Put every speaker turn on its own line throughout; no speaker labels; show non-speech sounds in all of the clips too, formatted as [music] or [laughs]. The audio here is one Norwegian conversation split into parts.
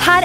her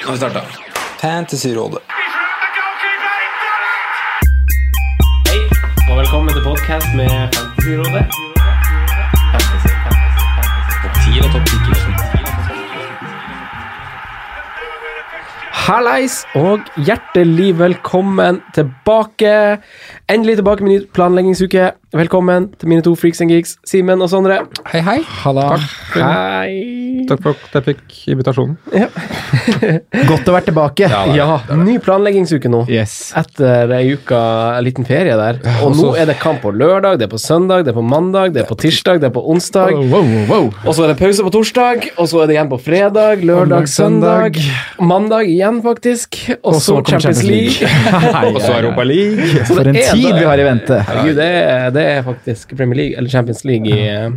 Nå starter Fantasyrådet.
Hei, og velkommen til podcast med Fantasyrådet. Topp 10 og topp 10. Hallais og hjertelig velkommen tilbake. Endelig tilbake med ny planleggingsuke. Velkommen til mine to freaks and geeks, Simen og Sondre.
Hei, hei. Halla.
Hei.
Takk for at jeg fikk invitasjonen.
Godt å være tilbake.
Ja, det er det.
Ja,
Det er det.
ny planleggingsuke nå.
Yes.
Etter ei uke, en liten ferie der. Og nå
også-
er det kamp på lørdag, det er på søndag, det er på mandag, det er på tirsdag, det er på onsdag. Og så er det pause på torsdag, og så er det igjen på fredag, lørdag,
Mandag,
søndag.
søndag.
Mandag igjen, faktisk. Og så Champions League.
Og så Europa League.
Så det
For en
er
tid
det.
vi har i vente.
Herregud, det er, det er faktisk Premier League, eller Champions League i eh,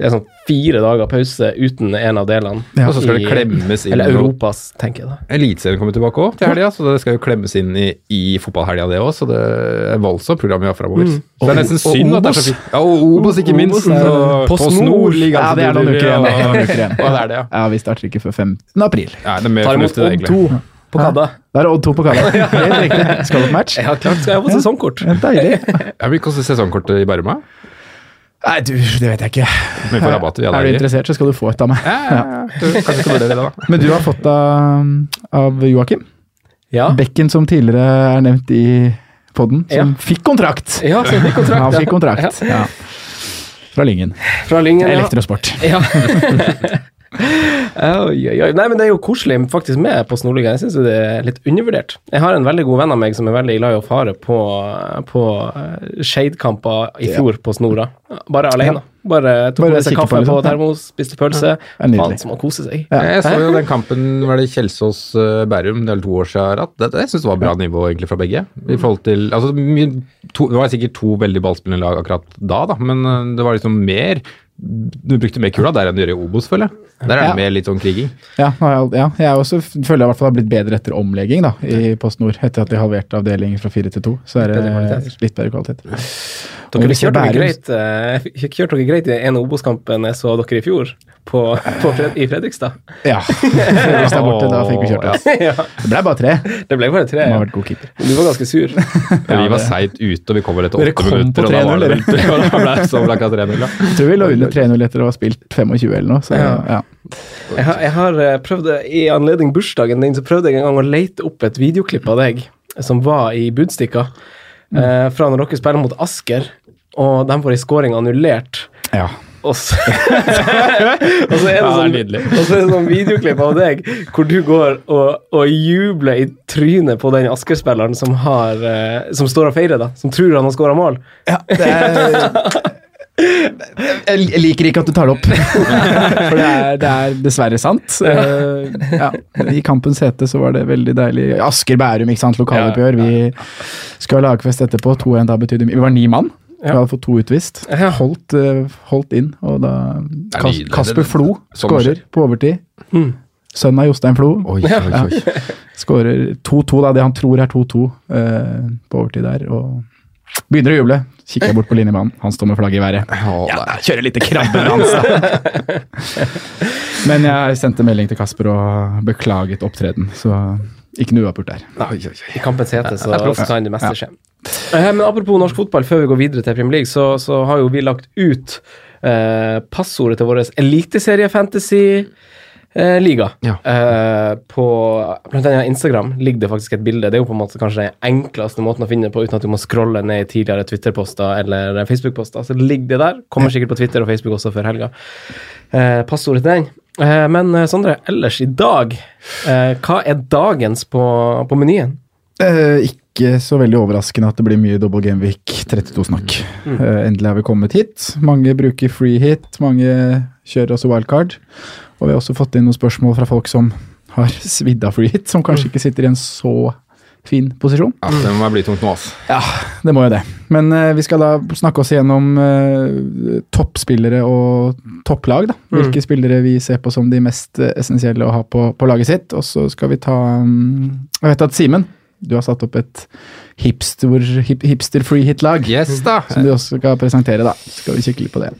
Det er sånn fire dager pause uten en av delene.
Og så skal det
I-
klemmes inn
Eller
mot-
Europas, tenker jeg da.
Eliteserien kommer tilbake òg til helga, så det skal jo klemmes inn i, i fotballhelga, det òg. Så det er voldsomt program vi har framover. Så det er nesten
Mm. og
synd at det er så
Obos.
fint. Ja, og Obos, ikke minst.
Obos er-
og
Post
Post
Nord.
Nord ligger
Ja, det er
altså
noen uker igjen.
tidligere, og-
Noen uker
[laughs]
igjen.
Ja, det er det, ja.
Ja, vi starter ikke før 15. april.
Ja, det er mer
Tar imot
fornuftig,
Odd
egentlig.
2 på Kadda.
Da er det Odd 2 på kalla. Helt riktig. Skal dere match?
Ja, klart skal jeg få sesongkort.
Deilig.
Ja, men koster sesongkortet i Barma?
Nei, du, det vet jeg ikke.
Vi får rabatt. Vi
Er du
har
interessert, så skal du få et av meg.
Ja, du, kanskje ikke vurdere det, da.
Men du har fått av, av Joakim.
Ja.
Bekken som tidligere er nevnt i podden, som
Ja.
fikk kontrakt.
Ja, så fikk kontrakt,
Han
ja.
fikk kontrakt. Ja. Fra Lyngen.
Fra Lyngen, ja.
Elektrosport.
Ja. oi, oi, oi. Nei, men det er jo koselig faktisk med på Snorliga. Jeg syns det er litt undervurdert. Jeg har en veldig god venn av meg som er veldig glad i å fare på, på eh, Shade-kamper i fjor på Snora. Bare alene. Bare tok
Bare
med seg
kikke på,
kaffe på
liksom.
termos, spiste pølse.
er nydelig.
Faen, som man koser seg.
Ja.
Jeg så jo den kampen var det Kjelsås-Bærum det er vel to år siden. At det, det synes jeg var bra nivå egentlig fra begge. I forhold til, altså, mye- to, det var sikkert to veldig ballspillende lag akkurat da, da, men eh, det var liksom mer Du brukte mer kula der enn du gjør i Obos, føler jeg. Der er det
Ja.
mer litt sånn kriging.
Ja, nå har jeg- ja, jeg også f- føler jeg i hvert fall har blitt bedre etter omlegging da, i Post Nord. Etter at de halverte avdelingen fra fire til to, så er det litt bedre kvalitet. Og
Dere
hvis
kjørte dere
Bærum-
greit, eh, kjørte dere greit i den ene Obos-kampen jeg så dere i fjor, på, på Fred i Fredrikstad.
Ja. [laughs] Hvis det er borte, da fikk vi kjørt oss.
ja.
Det ble bare tre.
Det ble bare tre.
Han
ja.
har vært god keeper.
Du var ganske sur.
vi var seigt ute, og vi kom vel etter
Dere
åtte
kom på
minutter. og da var
3-0,
[laughs] det vel- og da ble det så ble det 3-0, da.
Jeg tror vi lå under 3-0 etter å ha spilt 25 eller noe. Så,
Ja.
ja.
Jeg har, jeg har eh, prøvd, I anledning bursdagen din så prøvde jeg en gang å lete opp et videoklipp av deg som var i Budstikka, eh, fra når dere spiller mot Asker, og de får en scoring annullert.
ja.
Og så, [laughs] og så er det
Ja,
sånn,
det er nydelig.
og så er det sånn videoklipp av deg hvor du går og, og jubler i trynet på den Asker-spilleren som, har, eh, som står og feirer, da, som tror han har scora mål.
Det er, jeg liker ikke at du tar det opp. [laughs] For det er, det er dessverre sant. Eh, Ja. I kampens hete så var det veldig deilig. Asker Bærum, ikke sant. Lokaloppgjør. Vi skal ha lagfest etterpå. 2-1 da betydde mye. Vi var ni mann. Vi hadde fått to utvist.
Ja.
Holdt, eh, holdt inn, og da
er
Kas
nydelig.
Kasper
Det-
Flo
sånn det
skårer på overtid. Mm. Sønnen av Jostein Flo.
Oi, oi, oi.
Skårer 2-2, da, det han tror er 2-2 eh, på overtid der. Og begynner å juble. Kikker jeg bort på linjemannen, han står med flagget i været.
Å, nei.
Kjører litt krabbe med hans, da. Men jeg sendte melding til Kasper og beklaget opptreden, så ikke noe uavgjort der.
Oi, oi, oi.
I kampens hete, så, så kan det meste skje. Eh, Men apropos norsk fotball, før vi går videre til Premier League, så, så har jo vi lagt ut eh, passordet til vår eliteserie-fantasy. eh, liga.
Ja.
Eh, på blant annet Instagram ligger det faktisk et bilde. Det er jo på en måte kanskje den enkleste måten å finne det på uten at du må scrolle ned i tidligere Twitter-poster eller eh, Facebook-poster. Så ligger det der. Kommer sikkert på Twitter og Facebook også før helga. Eh, passordet til den. Eh, men eh, Sondre, ellers i dag, eh, hva er dagens på, på menyen?
Eh, ikke så veldig overraskende at det blir mye Double Game Week 32-snakk. Eh, endelig har vi kommet hit. Mange bruker free hit, mange kjører også wildcard. Og vi har også fått inn noen spørsmål fra folk som har svidd av free hit, som kanskje ikke sitter i en så fin posisjon.
Ja, det må bli tungt nå, ass.
Ja, det må jo det. Men eh, vi skal da snakke oss igjennom eh, toppspillere og topplag. da. Hvilke spillere vi ser på som de mest eh, essensielle å ha på, på laget sitt. Og så skal vi ta mm, Jeg vet at Simen, du har satt opp et hipster, hip, hipster free hit-lag.
Yes, da.
Som du også skal presentere, da. Så skal vi kikke litt på det.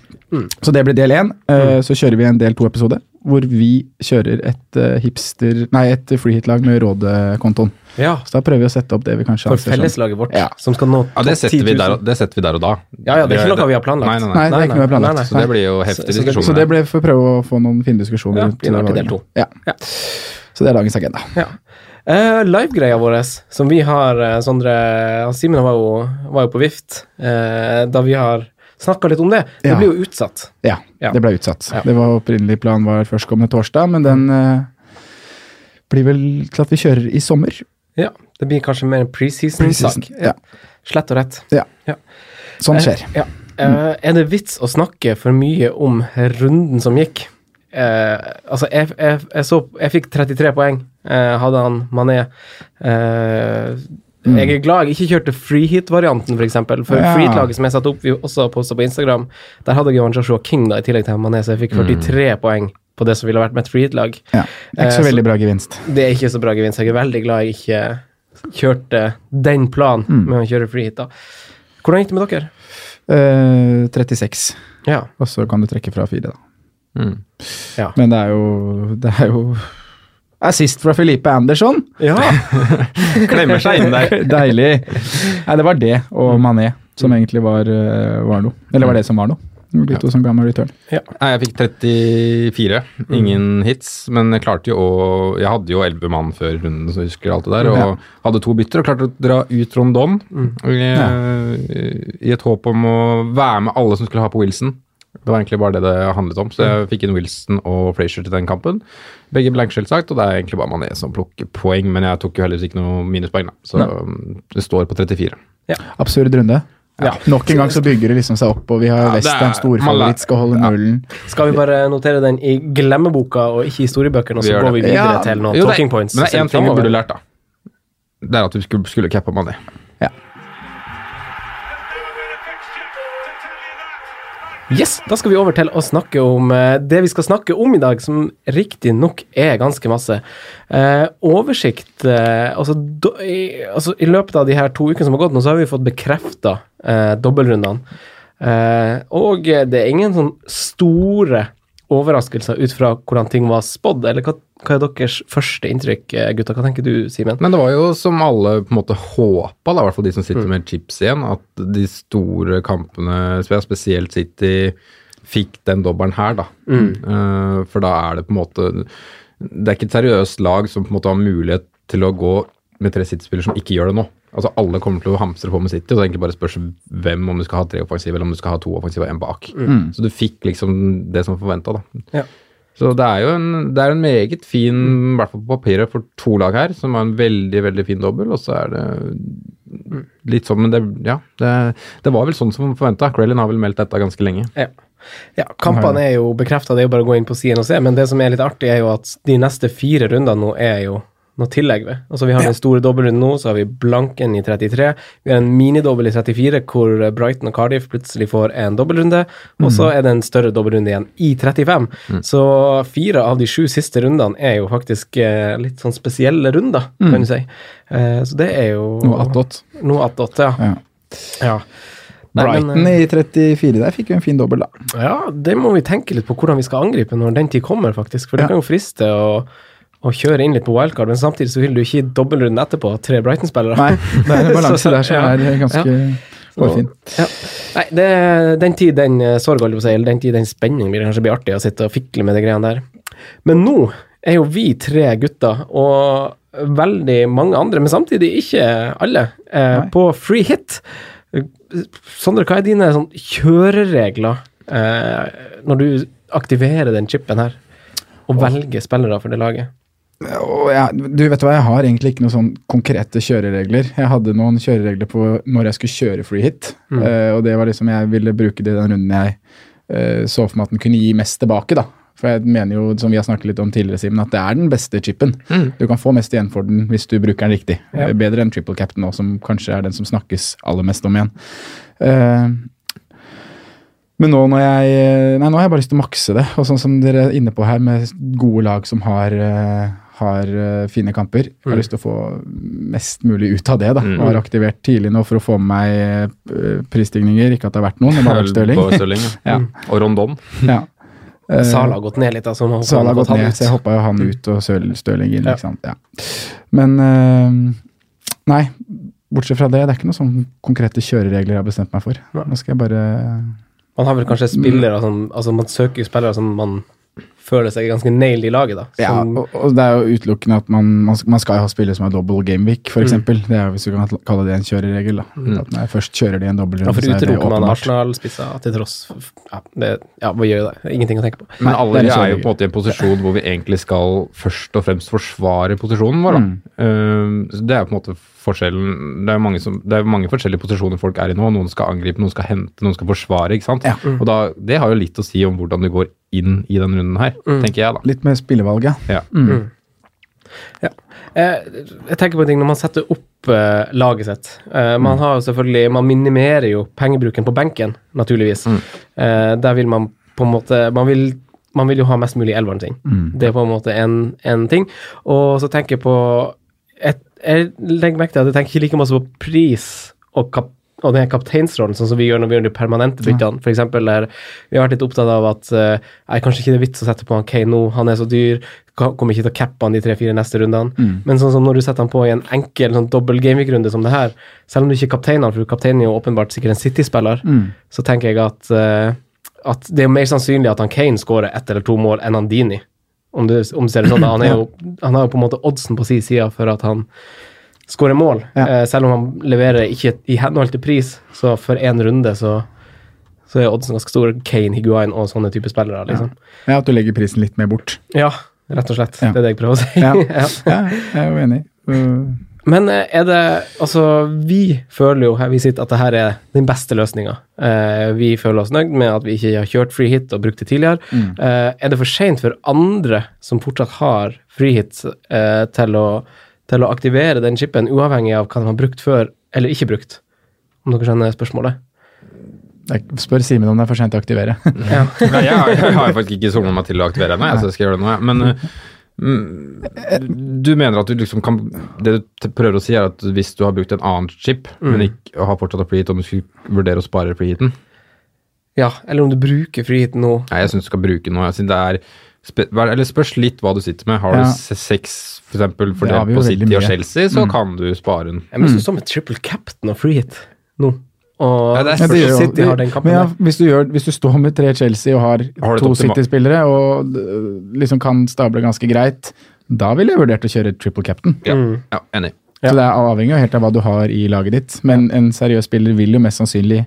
Så det blir del én. Eh, Så kjører vi en del to-episode hvor vi kjører et eh, hipster Nei, et free hit-lag med rådekontoen.
Ja,
Så da prøver vi å sette opp det vi kanskje
For
anser som-
felleslaget vårt,
Ja.
som skal nå
Ja, det
topp
setter,
10
vi
000.
der, og- det setter vi der og da.
Ja, ja, det er ikke noe vi har planlagt.
Nei, nei, nei.
Nei, det er ikke noe vi har planlagt.
Nei, nei.
Så det blir jo heftige
Så- så det-
diskusjoner.
Så det ble for å prøve å få noen fine diskusjoner.
Ja,
rundt
blir en artig
valgene.
del to.
Ja.
Ja.
Så det er dagens agenda.
Ja. Eh, Livegreia vår, som vi har eh, Sondre han Simen var, jo- var jo på vift eh, da vi har snakka litt om det. Det
Ja.
blir jo utsatt.
Ja,
Ja.
det ble utsatt.
Ja.
Det var opprinnelig planen var førstkommende torsdag, men den eh, blir vel til at vi kjører i sommer.
Ja, Det blir kanskje mer en preseason-sak.
Ja.
Slett og rett.
Ja.
Ja.
Sånn skjer.
Eh, ja. Eh, er det vits å snakke for mye om runden som gikk? Eh, altså, jeg, jeg, jeg, så, jeg fikk 33 poeng, eh, hadde han Mané. Eh, Jeg er glad jeg ikke kjørte freehit-varianten, f.eks. For, eksempel, for
Mm. Ja.
freehit-laget som jeg satte opp, vi også posta på Instagram, der hadde jeg jo han Joshua King da, i tillegg til Mané, så jeg
Mm.
fikk 43 poeng på det som ville vært mitt freehit-lag.
Ja. Ikke så
Eh,
veldig bra gevinst.
Det er ikke så bra gevinst. Jeg er veldig glad jeg ikke kjørte den planen
Mm.
med å kjøre freehit. da. Hvordan gikk det med dere?
Eh, 36,
Ja.
og så kan du trekke fra fire, da.
Ja.
Men det er jo Det er jo Assist fra Felipe Andersson!
Klemmer seg inn der.
Deilig. Nei, det var det og Mané som
Mm.
egentlig var, eh, var noe. Eller var det som var noe. De to som ga meg return.
[laughs] Nei, jeg fikk 34. Ingen hits, men jeg klarte jo å Jeg hadde jo 11 mann før runden, så jeg husker alt det der, og
Ja.
hadde to bytter og klarte å dra ut Rondon i, i et håp om å være med alle som skulle ha på Wilson. Det var egentlig bare det det handlet om, så jeg fikk inn Wilson og Frazier til den kampen. Begge blank, selvsagt, og det er egentlig bare Mané som plukker poeng, men jeg tok jo heldigvis ikke noe minuspoeng, da, så det står på 34.
Absurd runde.
Ja.
Nok en gang så bygger det liksom seg opp, og vi har
Ja, det er-
Westham storfavoritt, skal holde nullen.
Skal vi bare notere den i glemmeboka og ikke i historiebøkene, og så
Vi gjør
går vi
det.
videre
Ja,
til noen
Jo, det er-
talking points?
Men det er én
selv
ting vi
fremover?
burde lært, da. Det er at vi skulle, skulle cappa Mané.
Yes, Da skal vi over til å snakke om eh, det vi skal snakke om i dag, som riktignok er ganske masse. Eh, oversikt eh, altså, do, i, altså, I løpet av de her to ukene som har gått nå, så har vi fått bekrefta eh, dobbeltrundene. Eh, og eh, det er ingen sånn store overraskelser ut fra hvordan ting var spådd. Eller hva, hva er deres første inntrykk, eh, gutta? Hva tenker du, Simen?
Men det var jo som alle på en måte håpa, da, i hvert fall de som sitter med chips igjen, at de store kampene, spesielt City, fikk den dobbelen her, da. Eh, for da er det på en måte Det er ikke et seriøst lag som på en måte har mulighet til å gå med tre City-spillere som ikke gjør det nå. Altså Alle kommer til å hamstre på med City, og det er egentlig bare spørs hvem, om du skal ha tre offensive eller om du skal ha to offensive og én bak. Så du fikk liksom det som forventa, da.
Ja.
Så det er jo en, det er en meget fin, i hvert fall på papiret, for to lag her, som er en veldig, veldig fin dobbel, og så er det litt sånn, men det, ja, det, det var vel sånn som forventa. Crellin har vel meldt dette ganske lenge.
Ja. ja, kampene er jo bekrefta, det er jo bare å gå inn på siden og se. Men det som er litt artig, er jo at de neste fire rundene nå er jo noe tillegg ved. Altså Vi har den store dobbeltrunden nå, så har vi blanken i 33. Vi har en minidobbel i 34, hvor Brighton og Cardiff plutselig får en dobbeltrunde. Og
Mm.
så er det en større dobbeltrunde igjen i 35. Så fire av de sju siste rundene er jo faktisk eh, litt sånn spesielle runder, kan du si. Eh, så det er jo
Mm. Noe attåt.
Noe attåt, ja.
Ja.
ja. Nei, men,
Brighton
eh,
i 34 der fikk jo en fin dobbel, da.
ja, det må vi tenke litt på hvordan vi skal angripe når den tid kommer, faktisk. For det
Ja.
kan jo friste å, å kjøre inn litt på wildcard, men samtidig så vil du ikke i dobbeltrunden etterpå ha tre Brighton-spillere. [laughs]
Nei, det er en
Så-
balanse der som
ja.
er ganske hårfin.
Ja. Nei, det, den tid den eh, sorg, holdt jeg på å si, eller den tid den spenning vil det kanskje bli artig å sitte og fikle med de greiene der. Men nå er jo vi tre gutter, og veldig mange andre, men samtidig ikke alle, eh, på free hit. Sondre, hva er dine sånn, kjøreregler eh, når du aktiverer den chipen her, og velger spillere for det laget?
Og jeg, du vet hva, jeg har egentlig ikke noen sånn konkrete kjøreregler. Jeg hadde noen kjøreregler på når jeg skulle kjøre free hit,
Mm.
eh, og det var liksom jeg ville bruke det i den runden jeg eh, så for meg at den kunne gi mest tilbake, da. For jeg mener jo, som vi har snakket litt om tidligere, Simen, at det er den beste chipen. Du kan få mest igjen for den hvis du bruker den riktig. Eh, Bedre enn triple captain nå, som kanskje er den som snakkes aller mest om igjen. Eh, men nå, når jeg, eh, nei, nå har jeg bare lyst til å makse det. Og sånn som dere er inne på her, med gode lag som har, eh, har eh, fine kamper. Jeg har lyst til å få mest mulig ut av det. da. Og har aktivert tidlig nå for å få med meg eh, prisstigninger. Ikke at det har vært noen, det har bare vært Stirling.
Bare Stirling, ja.
[laughs] Ja.
Og Rondon.
Ja. Eh,
Sala har gått ned litt, altså. nå
Sala har gått
han
ned,
ut.
så jeg hoppa jo han ut og Søl- Stirling inn.
Ja.
ikke sant? Ja. Men eh, nei, bortsett fra det, det er ikke noen sånne konkrete kjøreregler jeg har bestemt meg for. Nå skal jeg bare
Man har vel kanskje
Mm.
spillere som Altså, man søker jo spillere som man føler seg ganske nailed i laget, da.
Ja,
Som,
og, og det er jo utelukkende at man, man, sk- man skal jo ha spillere som har double gameweek, f.eks. eksempel Det er jo hvis du kan kalle det en kjøreregel. da. At når jeg først kjører de en
ja,
dobbeltrunde,
for
så er det
utelukker man
åpenbart.
Arsenal-spisser til tross for- ja, det, ja, hva gjør jo det? Ingenting å tenke på.
Men
Nei,
alle
det er
vi
liksom en
er jo
kjøreregel.
på en måte i en posisjon hvor vi egentlig skal først og fremst forsvare posisjonen vår, da.
Mm.
Eh, så det er jo på en måte forskjellen Det er jo mange, som, det er jo mange forskjellige posisjoner folk er i nå. Noen skal angripe, noen skal hente, noen skal forsvare, ikke sant. Og da, det har jo litt å si om hvordan det går inn i den runden her,
Mm.
tenker jeg, da.
Litt med spillevalget.
Ja.
Eh, jeg tenker på en ting når man setter opp eh, laget sitt. Eh, man
Mm.
har jo selvfølgelig Man minimerer jo pengebruken på benken, naturligvis.
Mm.
Eh, der vil man på en måte Man vil, man vil jo ha mest mulig i elveren sin.
Mm.
Det er på en måte en, en ting. Og så tenker jeg på Jeg, jeg legger merke til at jeg tenker ikke like masse på pris og, kap, og den her kapteinsrollen, sånn som vi gjør når vi gjør de permanente byttene. For eksempel der vi har vært litt opptatt av at eh, nei, kanskje ikke det er vits å sette på han Kane nå, han er så dyr. ka- Kommer ikke til å cappe han de tre-fire neste rundene. Men sånn som når du setter han på i en enkel sånn dobbel gameweek-runde som det her, selv om du ikke kapteiner han, for kapteinen er jo åpenbart sikkert en City-spiller,
Mm.
så tenker jeg at, eh, at det er jo mer sannsynlig at han Kane skårer ett eller to mål enn han Dini. Om du, om du ser det sånn, da. Han, er jo,
[laughs]
han har jo på en måte oddsen på sin side for at han skårer mål.
Ja.
Eh, selv om han leverer ikke i henhold til pris, så for én runde så, så er oddsen ganske stor. Kane, Higuain og sånne type spillere, liksom.
Ja, At du legger prisen litt mer bort.
Ja, rett og slett.
Ja.
Det er det jeg prøver å si.
Ja,
Ja.
[laughs] ja jeg er jo enig. Uh,
Men eh, er det Altså, vi føler jo her vi sitter at det her er den beste løsninga. Eh, vi føler oss nøyd med at vi ikke har kjørt free hit og brukt det tidligere. Eh, er det for seint for andre som fortsatt har free hit, eh, til, å, til å aktivere den chipen, uavhengig av hva de har brukt før eller ikke brukt? Om dere skjønner spørsmålet?
jeg spør Simen om det er for sent å aktivere.
Ja.
Nei, jeg, har- jeg har jo faktisk ikke somla meg til å aktivere ennå, jeg, så jeg skal gjøre det nå. jeg. Men eh, mm, du mener at du liksom kan Det du t- prøver å si, er at hvis du har brukt en annen chip,
Mm.
men ikke har fortsatt å fly hit, om du skulle vurdere å spare fly hiten
ja, eller om du bruker free hit nå.
Nei, jeg syns du skal bruke noe. Jeg synes det er spe, hva- eller spørs litt hva du sitter med. Har
Ja.
du se- seks for eksempel,
Det har
fordelt
vi jo
på
veldig
City og
mye. Mm.
Chelsea, så kan du spare den.
Jeg mener, det står med triple captain og free hit nå. Mm. Og
Ja, det er
Ja, det gjør jo-
City har den kampen.
men ja,
der.
hvis, du gjør, hvis du står med tre Chelsea og har,
Har du et
to
optima-
City-spillere og øh, liksom kan stable ganske greit, da ville jeg vurdert å kjøre triple captain.
Ja, ja enig.
Så det er avhengig av helt av hva du har i laget ditt. Men en seriøs spiller vil jo mest sannsynlig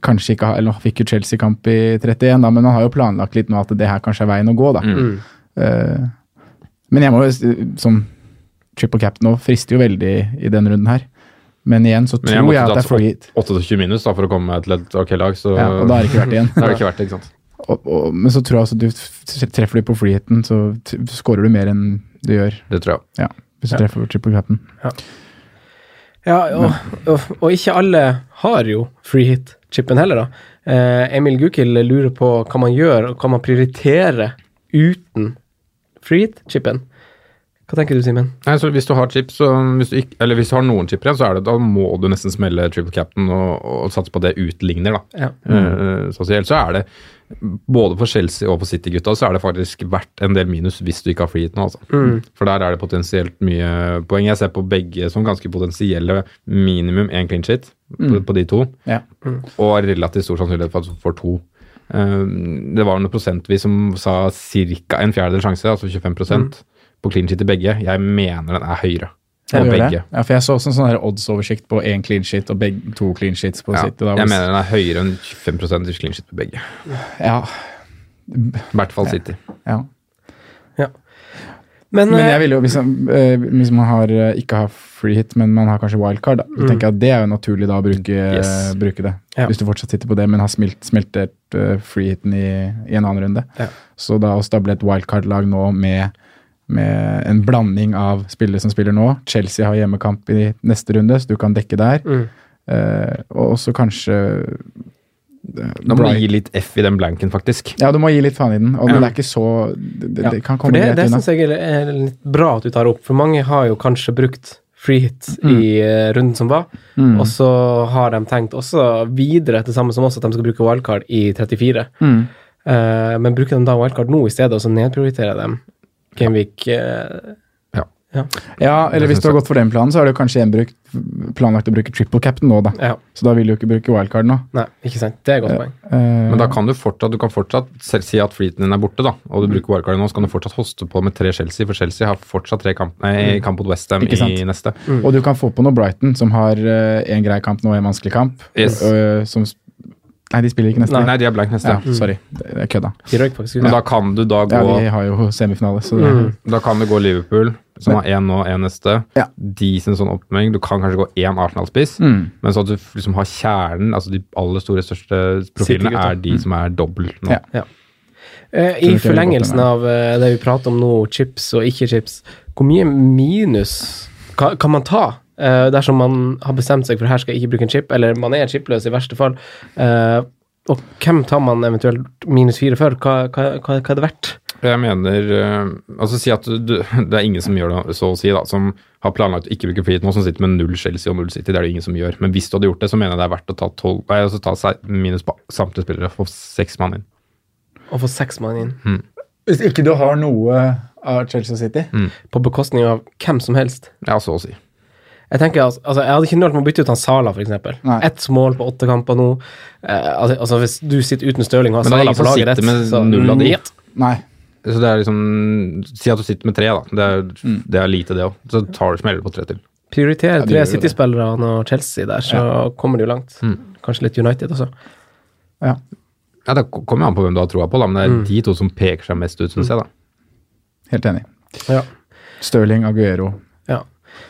kanskje ikke ha Eller han fikk jo Chelsea-kamp i 31, da, men han har jo planlagt litt nå at det her kanskje er veien å gå, da.
Mm.
Eh, men jeg må jo s- som triple captain nå frister jo veldig i den runden her. Men igjen
Men jeg
så tror jeg,
måtte
at det er free hit.
tatt 28 minus da, for å komme meg til et ok lag, så
Ja, og da er det ikke verdt det
[laughs]
igjen.
Da er det ikke verdt det, ikke sant.
Og, og, men så tror jeg altså du f- treffer du på freehiten, så t- scorer du mer enn du gjør.
Det tror jeg.
Ja, hvis du treffer triple captain.
Ja, og, og, og ikke alle har jo free hit-chipen heller, da. Eh, Emil Gukild lurer på hva man gjør, og hva man prioriterer uten free hit-chipen. Hva tenker du, Simen?
Nei, så Hvis du har chip, så hvis du ikke, eller hvis du har noen chip igjen, så er det, da må du nesten smelle triple captain og, og satse på at det utligner. da.
Ja.
Eh,
Mm.
så å si. Ellers så er det, både for Chelsea og for City-gutta, så er det faktisk verdt en del minus hvis du ikke har freeheat nå. altså.
Mm.
For der er det potensielt mye poeng. Jeg ser på begge som ganske potensielle minimum én clean shit på, på de to,
Ja.
og relativt stor sannsynlighet for at du får to. eh, Det var noe prosentvis som sa ca. en fjerdedel sjanse, altså 25
Mm.
på clean sheet til begge. Jeg mener den er høyere.
Ja,
på
det
begge.
gjør det. Ja, for jeg så også en sånn her oddsoversikt på én clean shit og begge, to clean shits på
Ja,
City. Da,
jeg
hvis-
mener den er høyere enn 25 i clean sheet på begge.
ja,
I hvert fall City.
ja.
Men,
Men
eh,
jeg vil jo, hvis, eh, hvis man har, eh, ikke har free hit, men man har kanskje wildcard, da, så tenker jeg at det er jo naturlig da å bruke,
Yes.
bruke det.
Mm. Ja.
Hvis du fortsatt sitter på det, men har smelt, smeltet eh, free hiten i, i en annen runde.
Ja.
Så da å stable et wildcard-lag nå med, med en blanding av spillere som spiller nå Chelsea har hjemmekamp i neste runde, så du kan dekke der.
Mm.
Eh, og også kanskje
Da må du gi litt F i den blanken, faktisk.
Ja, du må gi litt faen i den. Og, men det er ikke så Det, det,
Ja,
det kan
for
komme
det,
greit
det
unna.
syns jeg er er litt bra at du tar opp, for mange har jo kanskje brukt free hit i eh, runden som var,
Mm.
og så har de tenkt også videre til samme som oss at de skal bruke wildcard i 34.
Mm.
Eh, men bruker de da wildcard nå i stedet, og så nedprioriterer de Gameweek eh,
Ja, eller
Det
hvis
synes
du har
jeg.
gått for den planen, så har du kanskje gjenbrukt, planlagt å bruke triple cap'n nå, da.
Ja,
Så da vil du ikke bruke wildcard nå.
nei, ikke sant. Det er et godt poeng.
Eh,
Men da kan du fortsatt, du kan fortsatt selv si at flyten din er borte, da, og
Mm.
du bruker wildcardet nå, så kan du fortsatt hoste på med tre Chelsea, for Chelsea har fortsatt tre kamp, nei, kamp mot Westham
Mm. Ikke sant?
i neste.
Og du kan få på noe Brighton, som har eh, en grei kamp nå og en vanskelig kamp.
Yes.
Eh, som sp Nei, de spiller ikke neste.
Nei,
gang.
de er blank neste.
Ja, sorry, det det er kødda.
De røyk faktisk ut.
Men da kan du da gå
Ja, vi har jo semifinale, så det,
Da kan du gå Liverpool, som har én nå, én neste.
Ja.
De sin sånn oppmelding. Du kan kanskje gå én Arsenal-spiss,
Mm.
men så at du liksom har kjernen, altså de aller store, største profilene,
City-gutta.
er de som er dobbel nå.
Ja.
Eh, I
Tror ikke jeg vil
forlengelsen
gå til
av eh, det vi prater om nå, chips og ikke chips, hvor mye minus kan, kan man ta eh, dersom man har bestemt seg for her skal jeg ikke bruke en chip, eller man er chipløs i verste fall? eh, og hvem tar man eventuelt minus fire for? Hva, hva, hva, hva er det verdt?
Jeg mener eh, Altså, si at du, [laughs] du Det er ingen som gjør det, så å si, da, som har planlagt å ikke bruke frihet nå, som sitter med null Chelsea og null City. Det er det ingen som gjør. Men hvis du hadde gjort det, så mener jeg det er verdt å ta, 12, nei, altså ta se- minus på samtlige spillere og få seks mann inn.
Å få seks mann inn
Hm.
Hvis ikke du har noe av Chelsea City
Mm.
på bekostning av hvem som helst.
Ja, så å si.
Jeg tenker altså, altså, jeg hadde ikke nølt med å bytte ut han Sala, f.eks.
Nei.
Ett mål på åtte kamper nå. Eh, altså, altså, hvis du sitter uten Stirling og har
Men da er
Sala
det ingen
på
som
laget
sitter
ditt, Mm.
med
så
null av de.
njet.
Nei.
Så det er liksom Si at du sitter med tre, da. Det er, det er lite, det òg. Så tar du smeller på tre til.
Prioriter
de gjør
tre
jo det.
City-spillere og Chelsea der, så kommer du langt.
Mm.
Kanskje litt United også.
Ja.
Ja, Det kommer jo an på hvem du har troa på, da, men det er de to som peker seg mest ut, syns jeg. da.
Helt enig.
Ja.
Stirling, Aguero.
Ja.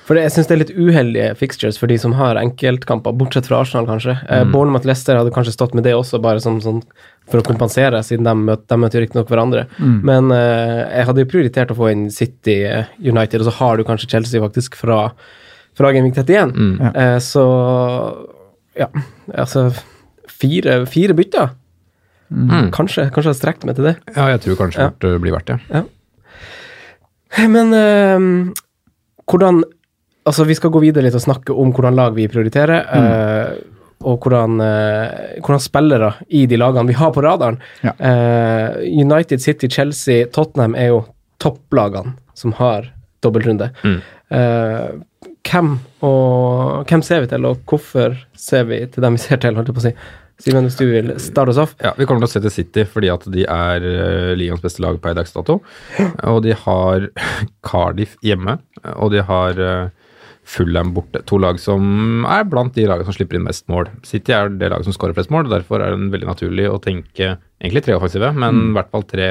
For det, jeg syns det er litt uheldige fixtures for de som har enkeltkamper, bortsett fra Arsenal, kanskje. Eh, Bournemouth Leicester hadde kanskje stått med det også, bare som sånn for å kompensere, siden de møter, de møter riktignok hverandre. Men eh, jeg hadde jo prioritert å få inn City eh, United, og så har du kanskje Chelsea faktisk fra, fra Gamevik 31.
Ja.
Eh, så ja, altså Fire, fire bytter?
Mm.
Kanskje, kanskje jeg hadde strekt meg til det.
Ja, jeg tror kanskje
Ja.
det eh, blir verdt det.
Men ehm, hvordan Altså, vi skal gå videre litt og snakke om hvordan lag vi prioriterer.
Mm.
eh, og hvordan, eh, hvordan spillere i de lagene vi har på radaren.
Ja.
Eh, United, City, Chelsea, Tottenham er jo topplagene som har dobbeltrunde.
Mm.
Eh, hvem, og, hvem ser vi til, og hvorfor ser vi til dem vi ser til, holdt jeg på å si. Simen, hvis du vil starte oss off.
Ja, Vi kommer til å se til City fordi at de er uh, ligaens beste lag per dags dato. Og de har [laughs] Cardiff hjemme, og de har eh, Fulham borte. To lag som er blant de lagene som slipper inn mest mål. City er det laget som skårer flest mål, og derfor er det veldig naturlig å tenke egentlig tre offensive, men i hvert fall tre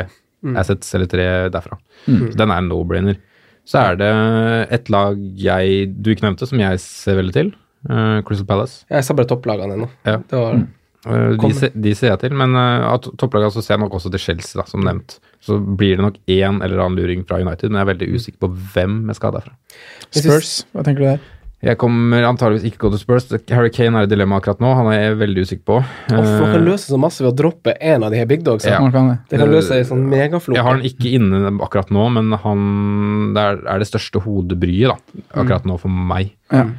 assets eller tre derfra. Så den er en no-brainer. Så er det et lag jeg, du ikke nevnte, som jeg ser veldig til. eh, Crystal Palace.
Jeg sa bare topplagene ennå.
Ja.
Det var
Eh, De,
Kommer.
se, de ser jeg til, men uh, av to- topplagene så ser jeg nok også til Chelsea, da, som nevnt. Så blir det nok én eller annen luring fra United, men jeg er veldig usikker på hvem jeg skal ha derfra.
Spurs, hva tenker du der?
Jeg kommer antageligvis ikke gå til Spurs. Harry Kane er et dilemma akkurat nå, han er jeg veldig usikker på.
Uff, man kan
Eh,
løse så masse ved å droppe en av de her big dogs.
Ja.
Man kan det.
Det kan løse ei sånn megaflok.
jeg har han ikke inne akkurat nå, men han det er, er det største hodebryet da, akkurat nå for meg.
Ja.
Eh,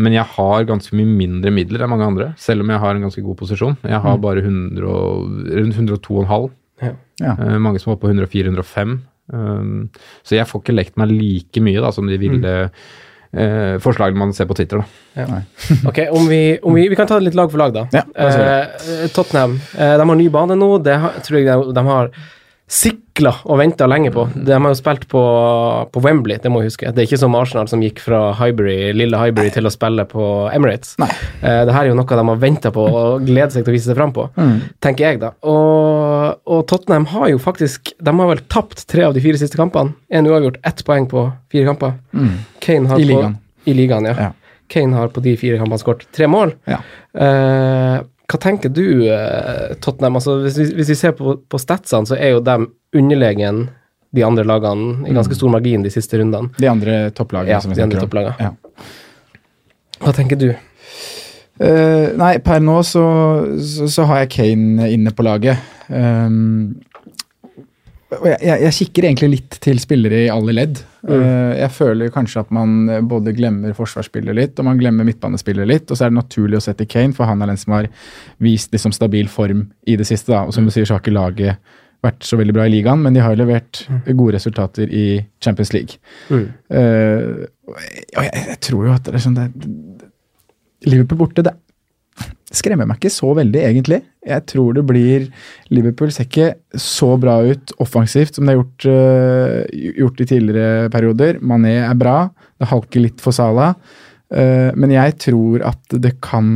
Men jeg har ganske mye mindre midler enn mange andre, selv om jeg har en ganske god posisjon. Jeg
Mm.
har bare 100 og, rundt 102,5.
Ja.
Eh, mange som var på Eh,
Mm.
104-105. Um, så jeg får ikke lekt meg like mye da, som de ville eh, forslagene man ser på Twitter. Da.
Ok, om vi, om vi, vi kan ta det litt lag for lag, da.
Ja, la oss
Eh, Tottenham eh, de har ny bane nå. Det har, tror jeg de, de har sikla og venta lenge på. De har jo spilt på, på Wembley, det må jeg huske. Det er ikke som Arsenal som gikk fra Highbury, lille Highbury til å spille på Emirates.
Nei.
Eh, det her er jo noe de har venta på og gleder seg til å vise seg fram på,
Mm.
tenker jeg, da. Og, og Tottenham har jo faktisk De har vel tapt tre av de fire siste kampene. Én uavgjort, ett poeng på fire kamper.
Mm.
Kane har
I
på,
ligaen.
I ligaen, ja.
Ja.
Kane har på de fire kampene skåret tre mål.
Ja.
Eh, hva tenker du, eh, Tottenham? Altså, hvis, vi, hvis vi ser på, på statsene, så er jo de underlegen de andre lagene i ganske stor margin de siste rundene.
De andre topplagene.
Ja,
som vi
de andre
snakker om.
topplagene.
Ja.
Hva tenker du?
Eh, nei, per nå så, så, så har jeg Kane inne på laget. Ehm, og jeg, jeg, jeg kikker egentlig litt til spillere i alle ledd. Eh, jeg føler kanskje at man eh, både glemmer forsvarsspiller litt, og man glemmer midtbanespiller litt. Og så er det naturlig å sette Kane, for han er den som har vist liksom stabil form i det siste. da, Og som du sier, så har ikke laget vært så veldig bra i ligaen, men de har jo levert gode resultater i Champions League. Eh, og jeg, og jeg, jeg tror jo at det er sånn det, Liverpool borte, det skremmer meg ikke så veldig, egentlig. Jeg tror det blir Liverpool ser ikke så bra ut offensivt som det har gjort, øh, gjort i tidligere perioder. Mané er bra, det halker litt for Salah. øh, men jeg tror at det kan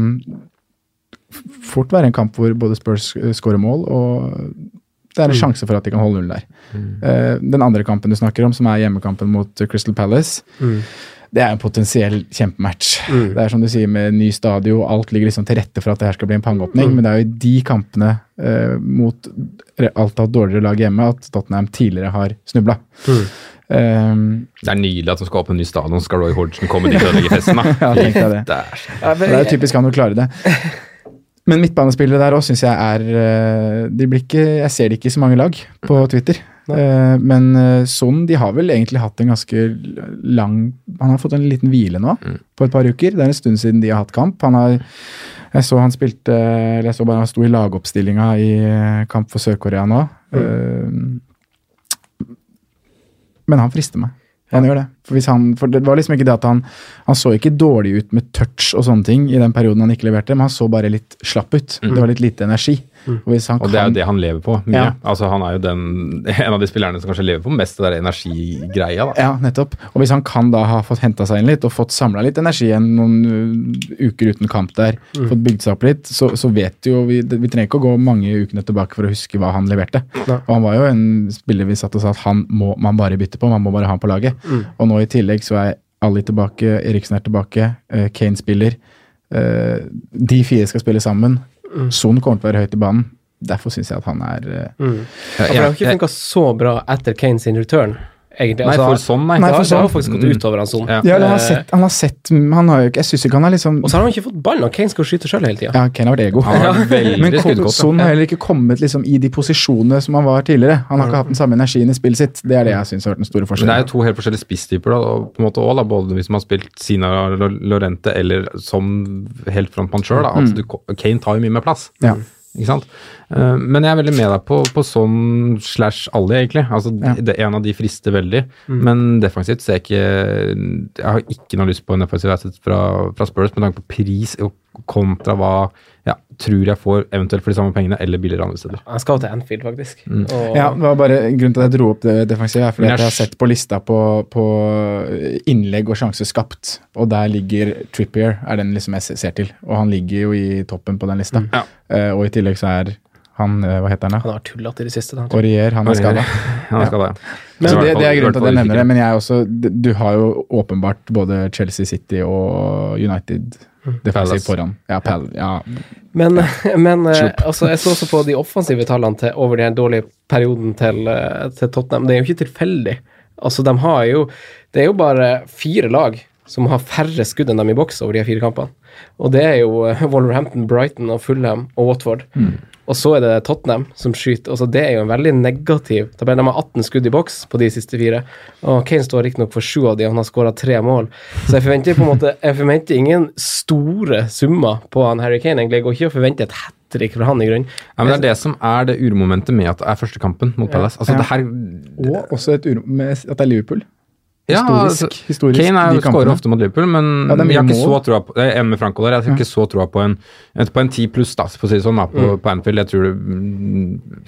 f- fort være en kamp hvor både Spurs øh, skårer mål, og det er en sjanse for at de kan holde null der. Eh, den andre kampen du snakker om, som er hjemmekampen mot øh, Crystal Palace, det er en potensiell kjempematch. Det er som du sier med ny stadio, alt ligger liksom til rette for at det her skal bli en pangeåpning, men det er jo i de kampene eh, mot re- alt av dårligere lag hjemme at Tottenham tidligere har snubla. Um,
Det er nydelig at de skal åpne en ny stadion, så skal Roy Hodgson komme dit og ødelegge
[laughs]
festen. Da.
[laughs] ja, tenk deg det.
Der.
Det er jo typisk han å klare det. Men midtbanespillere der òg syns jeg er eh, de blir ikke, Jeg ser de ikke i så mange lag på Twitter. Eh, Men eh, Son de har vel egentlig hatt en ganske lang Han har fått en liten hvile nå på et par uker. Det er en stund siden de har hatt kamp. Han har, jeg så han spilte eller jeg så bare han sto i lagoppstillinga i eh, kamp for Sør-Korea nå. Eh, Men han frister meg. Han gjør det. For, hvis han, for det var liksom ikke det at han Han så ikke dårlig ut med touch og sånne ting i den perioden han ikke leverte, men han så bare litt slapp ut. Det var litt lite energi. Og, hvis han
Og det er
kan-
jo det han lever på mye.
Ja.
Altså, han er jo den, [laughs] en av de spillerne som kanskje lever på mest det der energigreia. Da.
Ja, nettopp. Og hvis han kan da ha fått henta seg inn litt og fått samla litt energi igjen noen ø, uker uten kamp der, fått bygd seg opp litt, så, så vet jo vi det- Vi trenger ikke å gå mange ukene tilbake for å huske hva han leverte. Og han var jo en spiller vi satt og sa at han må man bare bytte på, man må bare ha han på laget. Og nå i tillegg så er Ali tilbake, Eriksen er tilbake, eh, Kane spiller. Eh, De fire skal spille sammen. Son kommer til å være høyt i banen. Derfor syns jeg at han er eh,
Ja, for det har jo
Jeg-
ikke funka så bra etter Kane sin return, egentlig.
Nei,
Altså,
for sånn, nei.
Nei,
det har-
for
det har jo
sånn.
faktisk gått utover han sånn.
Ja.
Ja, han har sett, han har sett han har jo ikke, Jeg syns ikke han er liksom
Og så har han jo ikke fått ballen, og Kane skal jo skyte sjøl hele tida.
[laughs] Ja, Kane har vært ego.
Han har vært veldig
Men Ko-
skuddgod, ja.
Son har heller ikke kommet liksom i de posisjonene som han var tidligere. Han har ikke hatt den samme energien i spillet sitt. Det er det jeg syns har vært den
Mm. Men
store
det er
forskjellen.
jo to helt forskjellige spisstyper, da, og på en måte også, da, både hvis man har spilt Sina Lo- Lorente eller som helt frontman sjøl. Altså, du- Kane tar jo mye mer plass.
Mm. Ja.
Ikke sant? Eh, Men jeg er veldig med deg på, på sånn slash alle, egentlig. Altså,
Ja. Mm.
det, en av de frister veldig. Men defensivt ser jeg ikke Jeg har ikke noe lyst på en defensiv asset fra, fra Spurs med tanke på pris og kontra hva jeg tror jeg får eventuelt for de samme pengene, eller billigere andre steder.
Han skal jo til Anfield, faktisk. Og,
Ja, det var bare Grunnen til at jeg dro opp det defensive, er fordi
Men jeg
at jeg har
skj-
sett på lista på, på innlegg og sjanser skapt, og der ligger Trippier, er den liksom jeg se- ser til. Og han ligger jo i toppen på den lista.
Mm.
Eh, og i tillegg så er han eh, Hva heter han, da?
Han har tullete i det siste. da.
Aurier, han er
[laughs]
skada.
Ja, det skal det.
Men
Så Altså, i
det,
hvert
det er
fall-
grunnen til at
i
jeg
hvert fall
nevner det,
usikker.
men jeg er også, d- du har jo åpenbart både Chelsea City og United defensivt
Palace.
foran. Ja, Pal ja.
Men, [laughs] men eh, altså, jeg så også på de offensive tallene til, over den dårlige perioden til, eh, til Tottenham. Det er jo ikke tilfeldig. Altså, de har jo Det er jo bare fire lag som har færre skudd enn dem i boks over de her fire kampene. Og det er jo eh, Wolverhampton, Brighton og Fulham og Watford. Og så er det Tottenham som skyter. Altså, det er jo en veldig negativ tabell. De har 18 skudd i boks på de siste fire. Og Kane står riktignok for sju av de, og han har skåra tre mål. Så jeg forventer på en måte Jeg forventer ingen store summer på han Harry Kane, egentlig. Jeg går ikke og forventer et hat trick fra han, i grunnen.
Ja, men Det er det som er det uromomentet med at det er første kampen mot Palace. Altså, det her
Og også et uro med at det er Liverpool. Historisk.
altså,
historisk
Kane er
de
jo skårer
kampene.
ofte mot Liverpool, men
Ja, det er mye
jeg har ikke
mål.
så troa på Jeg er enig med Franco der. Jeg har ikke så troa på en et- På en 10 pluss, da, for å si det sånn, da,
Mm.
på, på Anfield. Jeg tror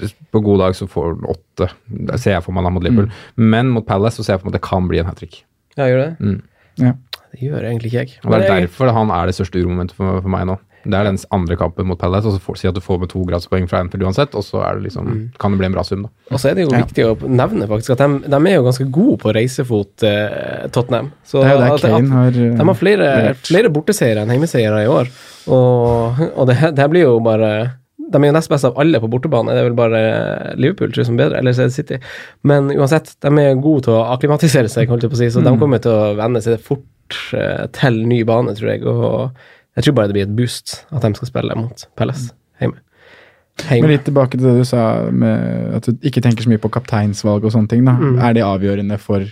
det, På god dag så får han åtte, Det ser jeg for meg da mot Liverpool.
Mm.
Men mot Palace så ser jeg for meg at det kan bli en hat trick.
Ja, gjør det?
Ja.
Det gjør egentlig ikke jeg.
Og Det
Men
er
jeg-
derfor han er det største uromomentet for, for meg nå. Det er den andre kampen mot Palace, og så får, si at du får med to gradspoeng fra Anfield uansett, og så er det liksom,
Mm.
kan det bli en bra sum, da.
Og så er det jo viktig å nevne faktisk at de, de er jo ganske gode på reisefot, eh, Tottenham. Så
Det er jo der
at- at-
Kane har, eh,
De har flere,
levert.
flere borteseiere enn hjemmeseiere i år. Og, og det, her- det her blir jo bare De er jo nest best av alle på bortebane. Det er vel bare Liverpool tror jeg, som er bedre, eller så er det City. Men uansett, de er gode til å akklimatisere seg, holdt jeg på å si, så
Mm.
de kommer til å vende seg fort eh, til ny bane, tror jeg. Og jeg tror bare det blir et boost at de skal spille mot Palace hjemme.
Mm. eh, Men
hjemme.
litt tilbake til det du sa med at du ikke tenker så mye på kapteinsvalg og sånne ting. da. Er det avgjørende for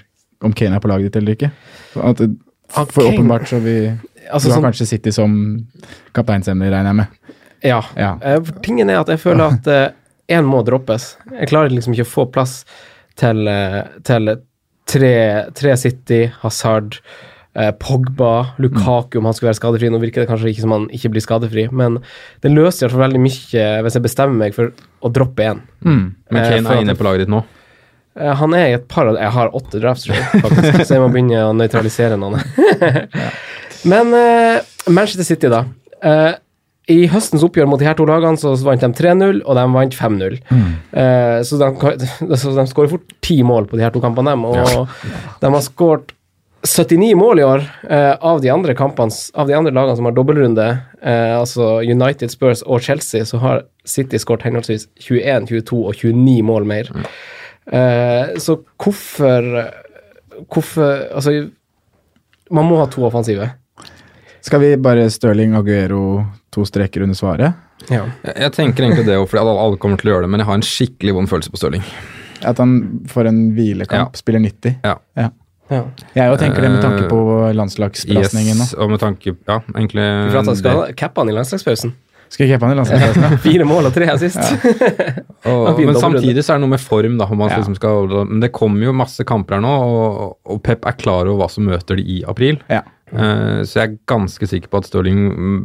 om Kane er på laget ditt eller ikke? At,
Ah,
for
Kane-
åpenbart så vi
Altså,
Du har
sånn-
kanskje City som kapteinsemne, regner jeg med.
Ja.
Ja.
Eh, for Tingen er at jeg føler at én må droppes. Jeg klarer liksom ikke å få plass til, eh, til tre, tre City, Hazard, eh, Pogba, Lukaku om han skulle være skadefri. Nå virker det kanskje ikke som han ikke blir skadefri, men det løser i hvert fall veldig mye hvis jeg bestemmer meg for å droppe én.
Men
Eh, for
Kane
at-
er inne på laget ditt nå.
Eh, Han er i et par av Jeg har åtte drafts, tror jeg, faktisk, så jeg må begynne å nøytralisere noen. [laughs] Men eh, Manchester City, da. Eh, I høstens oppgjør mot de her to lagene så vant de 3-0, og de vant 5-0. Eh, så de, kan- [laughs] så de skårer fort ti mål på de her to kampene, dem, og de har skåret 79 mål i år eh, av, de andre kampene, s- av de andre lagene som har dobbeltrunde, eh, altså United, Spurs og Chelsea, så har City skåret henholdsvis 21, 22 og 29 mål mer. Eh, så hvorfor Hvorfor Altså, man må ha to offensive.
Skal vi bare Stirling Aguero to streker under svaret?
Ja.
Jeg, jeg tenker egentlig det, fordi alle, alle kommer til å gjøre det, men jeg har en skikkelig vond følelse på Stirling.
At han får en hvilekamp,
Ja.
spiller 90.
Ja. Eh,
Jeg jo tenker det med tanke på landslagsbelastningen nå.
Yes, og med tanke Ja, egentlig
For at han skal
det.
ha cappe han i landslagspausen. [laughs]
Skal jeg kjøpe han i
[laughs]
landslagsbelastningen?
Fire mål og tre assist.
Og,
Han
men
begynte å
samtidig så er det noe med form, da. Om man liksom skal, overholde- men det kommer jo masse kamper her nå, og, og Pep er klar over hva som møter de i april.
Ja.
Eh, så jeg er ganske sikker på at Stirling mm,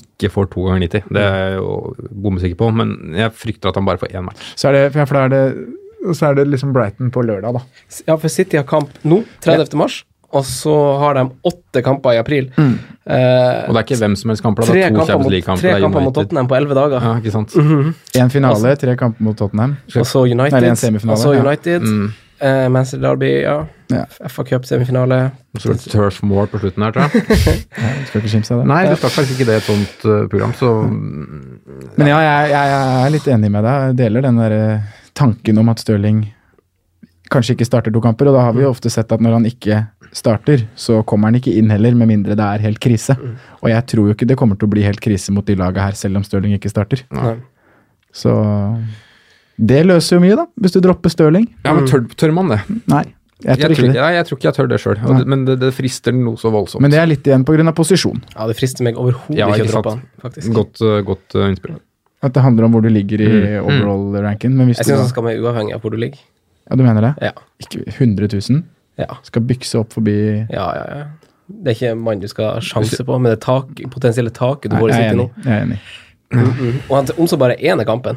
ikke får to ganger 90. Det er jeg jo bommesikker på, men jeg frykter at han bare får én match.
Så er det, for da er det, så er det liksom Brighton på lørdag, da.
[laughs] Ja, for City har kamp nå, 30. mars, og så har de åtte kamper i april.
Mm.
Eh,
Og det er ikke hvem som helst kamper, da.
tre
det er to
kamper
Champions
mot,
League-kamper.
tre
det er
kamper mot
United.
Tottenham Mhm. på elleve dager.
Ja, ikke sant?
Én
Altså-
finale, tre kamper mot Tottenham.
Og så
Nei, det er
United.
en semifinale,
Og så
ja.
United.
Mm.
eh, Manchester Derby, ja.
Ja.
FA Cup-semifinale.
Og så er det Turf Moor på slutten her, tror jeg.
Skal ikke kimse av det.
Nei, det skal faktisk ikke det i et sånt eh, program, så mm,
Men ja, jeg, jeg, jeg er litt enig med deg. Jeg deler den der eh, tanken om at Stirling kanskje ikke starter to kamper. Og da har vi jo ofte sett at når han ikke starter, så kommer han ikke inn heller, med mindre det er helt krise.
Mm.
Og jeg tror jo ikke det kommer til å bli helt krise mot de laga her, selv om Stirling ikke starter.
Nei.
Så det løser jo mye, da, hvis du dropper Stirling.
Ja, men tør, tør man det?
Nei, jeg tror ikke det.
Nei, jeg tror ikke jeg tør det sjøl,
Nei.
men det, det frister noe så voldsomt.
Men det er litt igjen pga. posisjon.
Ja, det frister meg overhodet
Ja,
ikke å
ikke
droppe
sant.
han, faktisk.
Godt, eh, godt eh, innspill.
At det handler om hvor du ligger i overall-ranken. Men hvis
Mm. Jeg
du,
syns han
da-
skal være uavhengig av hvor du ligger.
ja, du mener det?
Ja.
Ikke 100 000?
Ja.
Skal bykse opp forbi
Ja, ja, ja. Det er ikke en mann du skal ha sjanse på, men det er tak, potensielle taket du
Nei,
får i
jeg er
City nå.
enig. Jeg er enig.
Og han, om så bare én er kampen.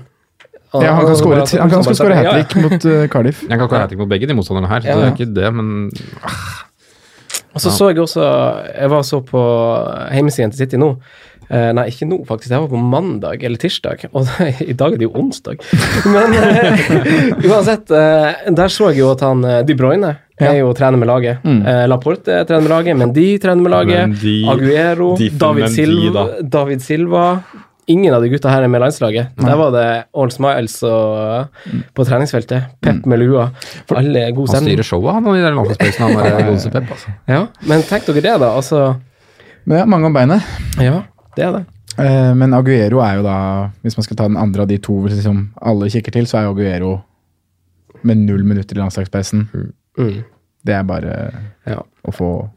Ja, han kan
Ah, så
skåre
bare-
han kan
så bare-
skåre hat
ja,
trick mot eh, Cardiff.
Jeg kan ikke ha hat-trick mot begge de motstanderne her, så det er ikke det, men
Og så så jeg også Jeg var så på hjemmesiden til City nå. Eh, nei, ikke nå, faktisk. Det var på mandag eller tirsdag. Og [laughs] i dag er det jo onsdag. Men eh, [laughs] uansett, eh, der så jeg jo at han eh, De Bruyne er jo trener med laget.
Mm.
Eh, Laporte er trener med laget, Mendy trener med laget.
Mendy,
Aguero,
Diffen
David,
Mendy,
Silva,
da.
David Silva Ingen av de gutta her er med landslaget. Der var det All Smiles og, på treningsfeltet. Pep med lua. Alle er god
Mm. han
stemning.
styrer showet, han, og de der landslagspausene. Han er eh, godeste Pep, altså.
Ja, men tenk dere det, da. Altså
Men ja, mange om beinet.
Ja, det er det.
Eh, Men Aguero er jo da Hvis man skal ta den andre av de to som alle kikker til, så er jo Aguero med null minutter i landslagspausen.
Mm.
Det er bare
Ja.
å få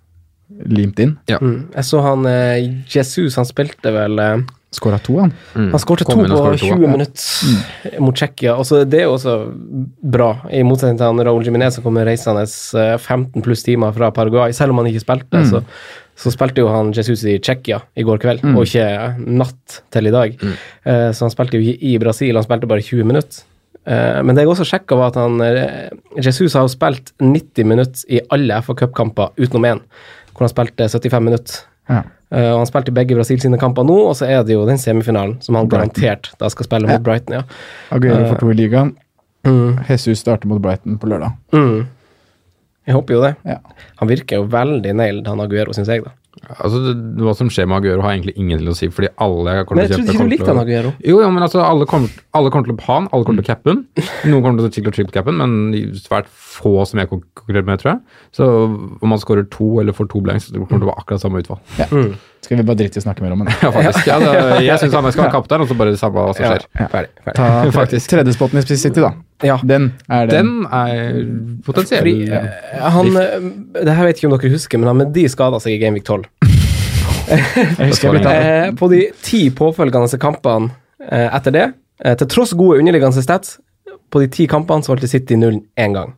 limt inn.
Mm. Jeg så han eh, Jesus, han spilte vel eh,
Skåra to, han.
Han skårte to
Kom inn og
på
skåret to,
20
ja. Mm.
minutter mot Tsjekkia. Og så det er jo også bra, i motsetning til han Raúl Jiminez som kommer reisende eh, 15 pluss timer fra Paraguay. Selv om han ikke spilte,
Mm.
så, så spilte jo han Jesus i Tsjekkia i går kveld,
Mm.
og ikke eh, natt til i dag. Eh, Så han spilte jo i- i Brasil, han spilte bare 20 minutter. Eh, Men det jeg også sjekka, var at han eh, Jesus har jo spilt 90 minutter i alle FA Cup-kamper utenom én, hvor han spilte 75 minutter.
Ja.
Eh, og Han spilte i begge Brasil sine kamper nå, og så er det jo den semifinalen som han
Brighton.
garantert da skal spille mot Brighton. ja.
Aguero får to i ligaen. Jesus starter mot Brighton på lørdag.
Mm. Jeg håper jo det.
Ja.
Han virker jo veldig nailed, han Aguero, syns jeg. da.
Altså, det- Hva som skjer med Aguero, har egentlig ingenting å si, fordi alle kommer
Men jeg trodde
til å kjøpe
ikke du
kommer
likte
til å-
han Aguero.
Jo, jo, men altså, alle kommer, alle kommer til å ha han, alle kommer til å cappe han. Noen kommer til å triple og triple cappe han, men svært få som jeg konkurrerer med, tror jeg. Så om han skårer to eller får to blanks, det kommer til å være akkurat samme utfall.
Ja.
Mm.
Skal vi bare drite i å snakke mer om den?
Ja, faktisk. Ja, det, jeg syns han skal være kaptein, og så bare det samme hva som skjer.
Ferdig. ferdig.
Ta
[laughs]
tredjespotten i Spiss City, da.
Ja.
Den er den.
Den er potensiell.
Fordi, eh, han, eh, det her vet ikke om dere husker, men han med de skada seg i Game Week 12.
Jeg husker jeg
Forsvaret.
bytta den.
Eh, på de ti påfølgende kampene eh, etter det, eh, til tross gode underliggende stats, på de ti kampene så holdt City nullen én gang.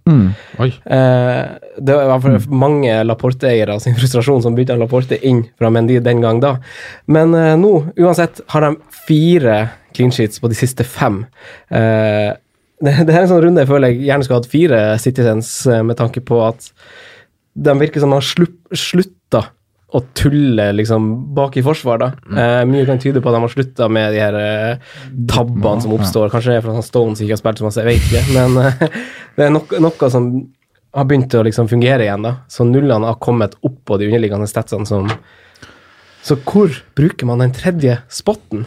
Oi.
Eh, det var i hvert fall mange Laporte-eiere sin frustrasjon som bytta Laporte inn fra Mendy den gang da. Men eh, nå, uansett, har de fire clean sheets på de siste fem. Eh, [laughs] det, det her er en sånn runde jeg føler jeg gjerne skulle hatt fire Citizens, eh, med tanke på at de virker som de har slupp- slutta å tulle liksom bak i forsvar, da.
Mm.
Eh, mye kan tyde på at de har slutta med de her eh, tabbene
Mm.
som oppstår. Kanskje det er fordi Stones ikke har spilt så masse, jeg vet ikke. Men eh, [laughs] det er nok, noe som har begynt å liksom fungere igjen, da. Så nullene har kommet opp på de underliggende statsene som Så hvor bruker man den tredje spotten?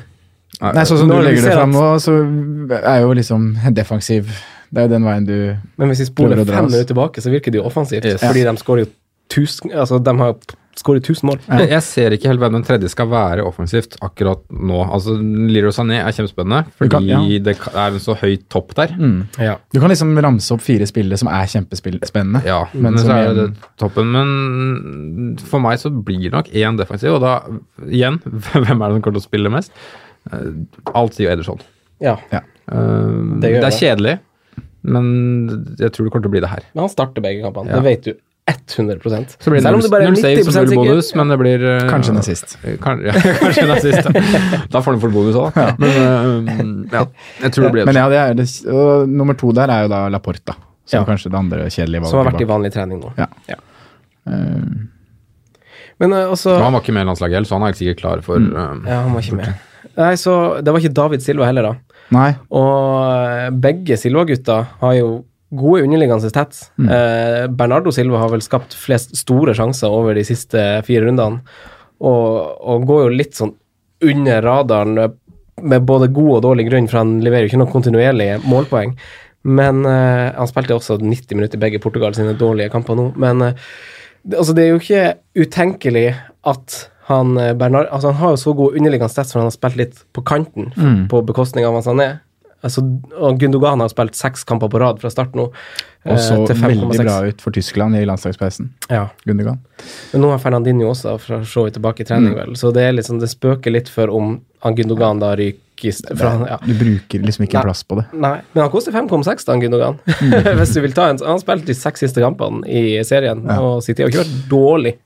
Nei, sånn som du
Når vi
legger det
ser
fram
Eh, at-
nå, så er jo liksom defensiv Det er jo den veien du
Men hvis vi spoler
Prøver å dra
fem
oss.
minutter tilbake, så virker det jo offensivt.
Yes.
Fordi de skårer jo tusen Altså, de har skåret 1000 mål.
Jeg jeg ser ikke helt hvem den tredje skal være offensivt akkurat nå. Altså, Leroy Sané er kjempespennende, fordi
Du kan- ja.
det ka- er en så høy topp der.
Ja.
Du kan liksom ramse opp fire spillere som er kjempespennende.
Ja,
Men
men så
som
er det
igjen-
toppen. Men for meg så blir det nok én defensiv, og da igjen [laughs] Hvem er det som kommer til å spille mest? Eh, Alt sier jo Ederson.
ja.
Eh, det,
gjør
er kjedelig, men jeg tror det kommer til å bli det her.
Men han starter begge kampene.
Ja.
Det vet du 100
Så blir det
Selv om
null,
du bare er
null
90
saves og null
sikker.
bonus, men det blir eh,
Kanskje en assist.
Eh, [laughs] Kan, ja, kanskje en assist. ja. da får han fort bonus òg, da. Men eh, ja, jeg tror det blir
[laughs] Men ja, det er det, og nummer to der er jo da Laporta, som
Ja.
kanskje det andre kjedelige valget
Som har vært i
bak. Eh,
vanlig trening nå.
Ja.
Men eh, også
Men Han var ikke med i landslaget heller, så han er helt sikkert klar for eh,
Ja, han var ikke med. Nei, så Det var ikke David Silva heller, da.
Nei,
Og eh, begge Silva-gutta har jo gode underliggende stats. Eh, Bernardo Silva har vel skapt flest store sjanser over de siste fire rundene, og, og går jo litt sånn under radaren eh, med både god og dårlig grunn, for han leverer jo ikke noen kontinuerlige målpoeng. Men eh, han spilte også 90 minutter i begge Portugal sine dårlige kamper nå. Men eh, det- altså, det er jo ikke utenkelig at han eh, Bernard altså, Han har jo så god underliggende stats, for han har spilt litt på kanten
Mm.
på bekostning av hva han er. Altså, og Gundogan har spilt seks kamper på rad fra start nå. eh,
og så
til
veldig
5,6.
bra ut for Tyskland i landslagspausen.
Ja.
Gundogan.
Men nå er Fernandinho også fra så vidt tilbake i
Mm.
trening, vel. Så det, er litt sånn- det spøker litt for om han Gundogan da ryker i st- fra, ja.
Du bruker liksom ikke
Nei.
plass på det.
Nei, men han koster 5,6 da, han Gundogan.
Mm.
[laughs] Hvis du vil ta en Han har spilt de seks siste kampene i serien, og City har ikke vært dårlig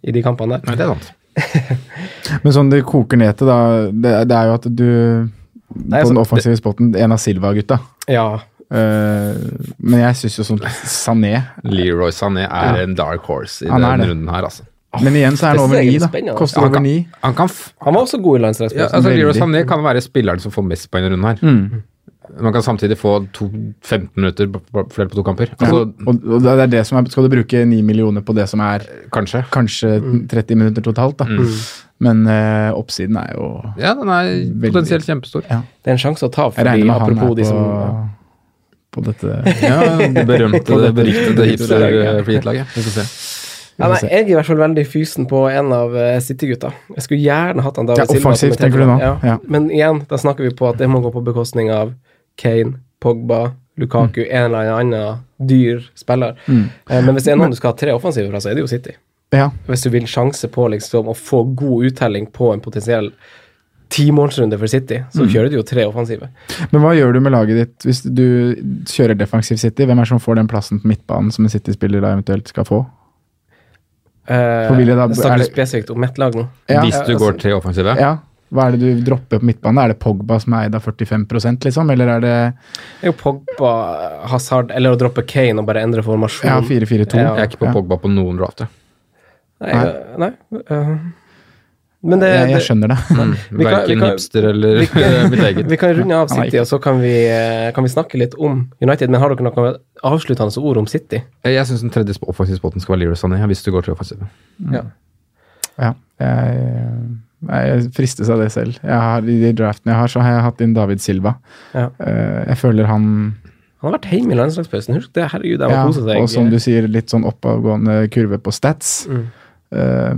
i de kampene der.
Nei, det er sant.
Men sånn det koker ned til, da, det, det er jo at du På
altså,
den offensive spotten, en av Silva-gutta.
Ja.
Eh, men jeg syns jo sånn Sané
Leroy Sané er en dark horse i
Han er
den
det.
runden her, altså.
Men igjen så er han
Det
over
synes
ni,
jeg er
da.
spennende.
Koster
Ja, han
over
kan-
ni.
Han kan f
Han var også god i landslagsposten.
ja, altså, Leroy
Veldig.
Sané kan være spilleren som får mest poeng i runden her. Man kan samtidig få to, 15 minutter på- på- flere på to kamper. Altså,
Og, og det er det som er, skal du bruke ni millioner på det som er
Kanskje. Mm.
kanskje
Mm.
30 minutter totalt, da. Men eh, oppsiden er jo
Ja, den er
Veldig.
potensielt kjempestor.
Ja.
Det er en sjanse å ta,
Jeg
fordi
regner med han er
apropos de
på,
som
på
[laughs]
dette
Ja, det [laughs] berømte, det beriktede hipster-flitlaget. Vi får se.
ja, nei, Jeg er i hvert fall veldig fysen på en av eh, City-gutta. Jeg skulle gjerne hatt han David
Ja, offensivt,
som et helt
tenker du nå?
annet. Ja.
Ja.
Men igjen, da snakker vi på at det må gå på bekostning av Kane, Pogba, Lukaku,
Mm.
en eller annen dyr spiller. Eh, Men hvis det er noen du skal ha tre offensive fra, så er det jo City.
[laughs] Ja.
hvis du vil sjanse på liksom, å få god uttelling på en potensiell ti målsrunder for City, så
Mm.
kjører de jo tre offensive.
Men hva gjør du med laget ditt hvis du kjører defensiv City? Hvem er det som får den plassen på midtbanen som en City-spiller da eventuelt skal få?
Eh,
For vil jeg da-
jeg
er
snakker
det-
spesifikt om mitt lag nå.
Ja,
Hvis du
altså-
går til offensive?
Ja. Hva er det du dropper på midtbanen? Er det Pogba som er eid av 45 liksom? Eller er det
Det er jo Pogba, Hazard, eller å droppe Kane og bare endre formasjon.
ja, 4-4-2?
Ja.
Jeg er ikke på Pogba på noen drafter.
Nei, øh, nei øh, Men det,
Jeg, jeg
det
skjønner det. [laughs]
Vi kan- vi
Verken
kan-
hipster eller
vi kan-
[laughs] mitt eget.
vi kan runde av
Han er
City,
ikke-
og så kan vi, eh, kan vi snakke litt om United. Men har dere noen avsluttende ord om City?
Jeg syns den tredje sp- offensive spotten skal være Leroy Sané, hvis du går til offensive.
Ja. Jeg, jeg fristes av det selv. Jeg har, I de draftene jeg har, så har jeg hatt inn David Silva.
Ja.
Eh, Jeg føler han
Han har vært hjemme i landslagspausen. Husk det, herregud, jeg må
ja,
kose seg.
Og som du sier, litt sånn oppadgående kurve på stats.
Mm.
Eh,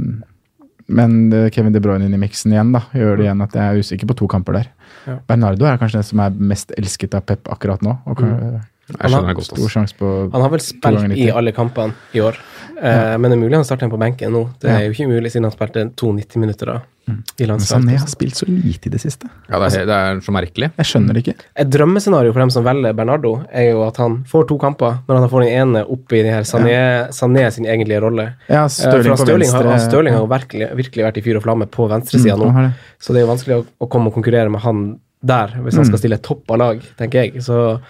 Men eh, Kevin De Bruyne inn i miksen igjen da, gjør det igjen at jeg er usikker på to kamper der.
Ja.
Bernardo er kanskje den som er mest elsket av Pep akkurat nå. og kan-
Jeg skjønner det godt.
Stor
ass.
sjanse på
Mm. Han har vel
To ganger
spilt i
nitti.
alle kampene i år, eh, men det er mulig han starter en på benken nå. Det er jo ikke umulig siden han spilte 92 minutter da, i
Mm. Men Sané har
landslagspausen.
spilt så lite i det siste.
Ja, det er, det er så merkelig.
Jeg skjønner
Mm.
det ikke.
Et drømmescenario for dem som velger Bernardo, er jo at han får to kamper, men han får den ene opp i den her Sané, Sané sin egentlige rolle.
Ja,
Eh, for
Stirling
han
på
Stirling har,
venstre.
han Stirling har jo virkelig, virkelig vært i fyr og flamme på venstresida
Mm, han har
nå,
det.
så det er jo vanskelig å, å komme og konkurrere med han der, hvis han
Mm.
skal stille topp av lag, tenker jeg. Så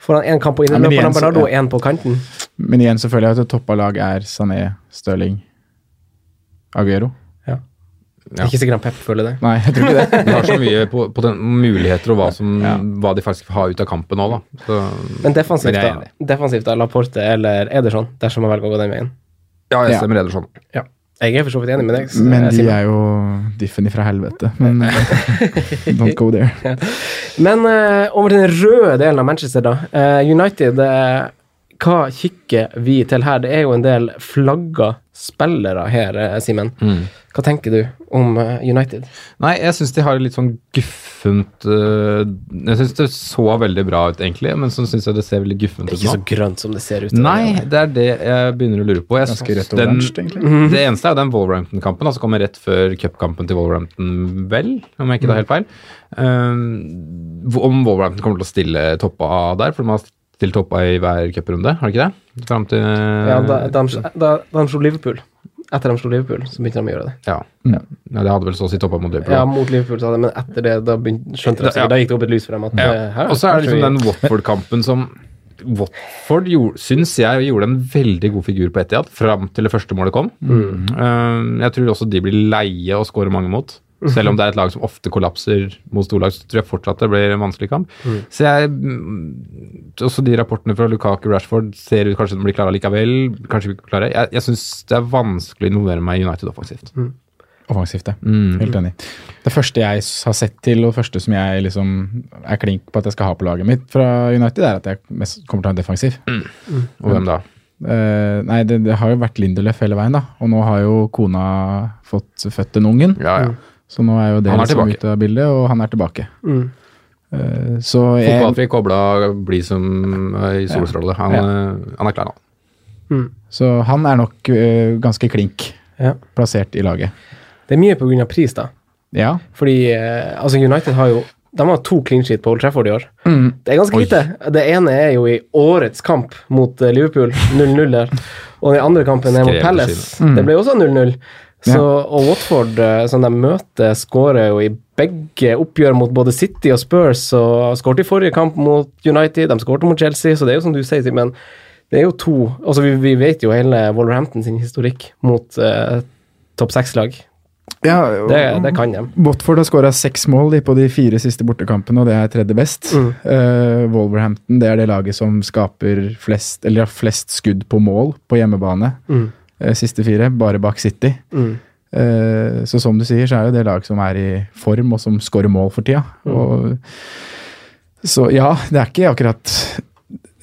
får han én kamp på
men
innløpet,
igjen
han
så-
Bernardo og
ja.
én på kanten.
Men igjen så føler jeg at et toppa lag er Sané, Stirling, Aguero.
Ja.
Ikke sikkert han Pep føler det.
Nei, jeg tror
[laughs]
ikke det.
De har så mye på, på den, muligheter og hva, som, hva de faktisk har ut av kampen nå, da. Så,
Men defensivt,
Men jeg er
da, defensivt da, Laporte eller Ederson, dersom man velger å gå den veien.
ja, jeg
Ja.
stemmer Ederson.
Jeg er for så vidt enig med deg. s-
Men
eh,
de
Simen.
er jo diffen ifra helvete.
[laughs]
Men eh, don't go there.
Men eh, over til den røde delen av Manchester, da. Eh, United, eh, hva kikker vi til her? Det er jo en del flagga spillere her, eh, Simen.
Mm.
Hva tenker du om eh, United?
Nei, jeg syns de har et litt sånn guffent øh, Jeg syns det så veldig bra ut, egentlig, men så syns jeg det ser veldig guffent ut
Ikke
nå.
så grønt som det ser ut.
Nei, det er det jeg begynner å lure på. Jeg
Ganske
synes
rødt og
den-
oransje, egentlig.
Det eneste er jo den Wolverhampton-kampen, altså kommer rett før cupkampen til Wolverhampton, vel, om jeg
Mm.
ikke tar helt feil. Um, hvor- om Wolverhampton kommer til å stille toppa der, for de har stilt toppa i hver cuprunde, har de ikke det? Fram til
Ja,
eh,
da, da, de- da, da de slo Liverpool, etter de slo Liverpool, så begynte de å gjøre det.
Ja. Ja, det hadde vel så å si toppa mot Liverpool.
Ja,
da.
mot Liverpool, sa de, men etter det, da begynte, skjønte de
Ja.
sikkert. Da gikk det opp et lys for dem at eh, her
Ja. Og så er det
kanskje vi-
liksom den Watford-kampen som Watford syns jeg gjorde en veldig god figur på Etihad fram til det første målet kom. Um, jeg tror også de blir leie og scorer mange mot. Selv om det er et lag som ofte kollapser mot storlag, så tror jeg fortsatt det blir en vanskelig kamp. Så jeg mm, Også de rapportene fra Lukaku Rashford ser ut kanskje de blir klare likevel. Kanskje vi ikke klarer. Jeg, jeg syns det er vanskelig å involvere meg i United offensivt.
Offensivt, ja.
Mm.
Helt enig. Det første jeg s- har sett til, og det første som jeg liksom er klink på at jeg skal ha på laget mitt fra United, er at jeg mest kommer til å ha en defensiv.
Og hvem da?
Eh, nei, det, det har jo vært Lindelöf hele veien, da. Og nå har jo kona fått født en ungen.
Ja, ja.
Så nå er jo det
Han er
liksom
tilbake. Mm.
ute av bildet, og han er tilbake. Eh, så jeg,
Fotballfri kobla bli som eh, i solstråle. Han, eh, han er klar, han.
Så han er nok ø, ganske klink
Ja.
plassert i laget.
Det er mye på grunn av pris, da.
Ja.
Fordi eh, altså United har jo de har to clean sheet på Old Trafford i år. Det er ganske lite. Det ene er jo i årets kamp mot eh, Liverpool, 0-0 der. Og den andre kampen er mot
Skrevet
Palace. Det ble også 0-0. Så, og Watford, eh, som de møter, skårer jo i begge oppgjør mot både City og Spurs. Og skåret i forrige kamp mot United, de skåret mot Chelsea, så det er jo som du sier, Simen. Det er jo to altså vi, vi vet jo hele Wolverhampton sin historikk mot eh, topp seks-lag. Det, det kan de.
Watford har skåra seks mål de, på de fire siste bortekampene, og det er tredje best.
Mm.
Eh, Wolverhampton det er det laget som skaper flest, eller har flest skudd på mål på hjemmebane. Eh, siste fire, bare bak City. Eh, så som du sier, så er jo det lag som er i form, og som skårer mål for tida. Og, så ja, det er ikke akkurat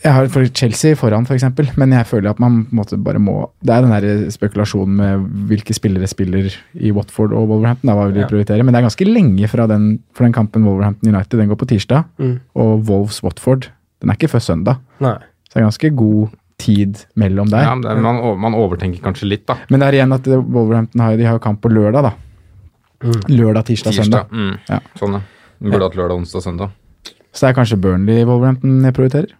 Jeg har for Chelsea foran, f.eks., for men jeg føler at man på en måte bare må Det er den der spekulasjonen med hvilke spillere spiller i Watford og Wolverhampton. Da, hva vil de prioritere, Men det er ganske lenge fra den, for den kampen Wolverhampton United. Den går på tirsdag. Og Wolves-Watford den er ikke før søndag.
Nei.
Så det er ganske god tid mellom der.
Ja, men det, er- man, over- man overtenker kanskje litt, da.
Men det er igjen at Wolverhampton har, de har jo kamp på lørdag, da.
Mm.
Lørdag, tirsdag,
Tirsdag.
søndag.
Mm.
Ja.
Sånn, ja. Den Burde hatt lørdag, onsdag, søndag.
Så det er kanskje Burnley Wolverhampton jeg prioriterer.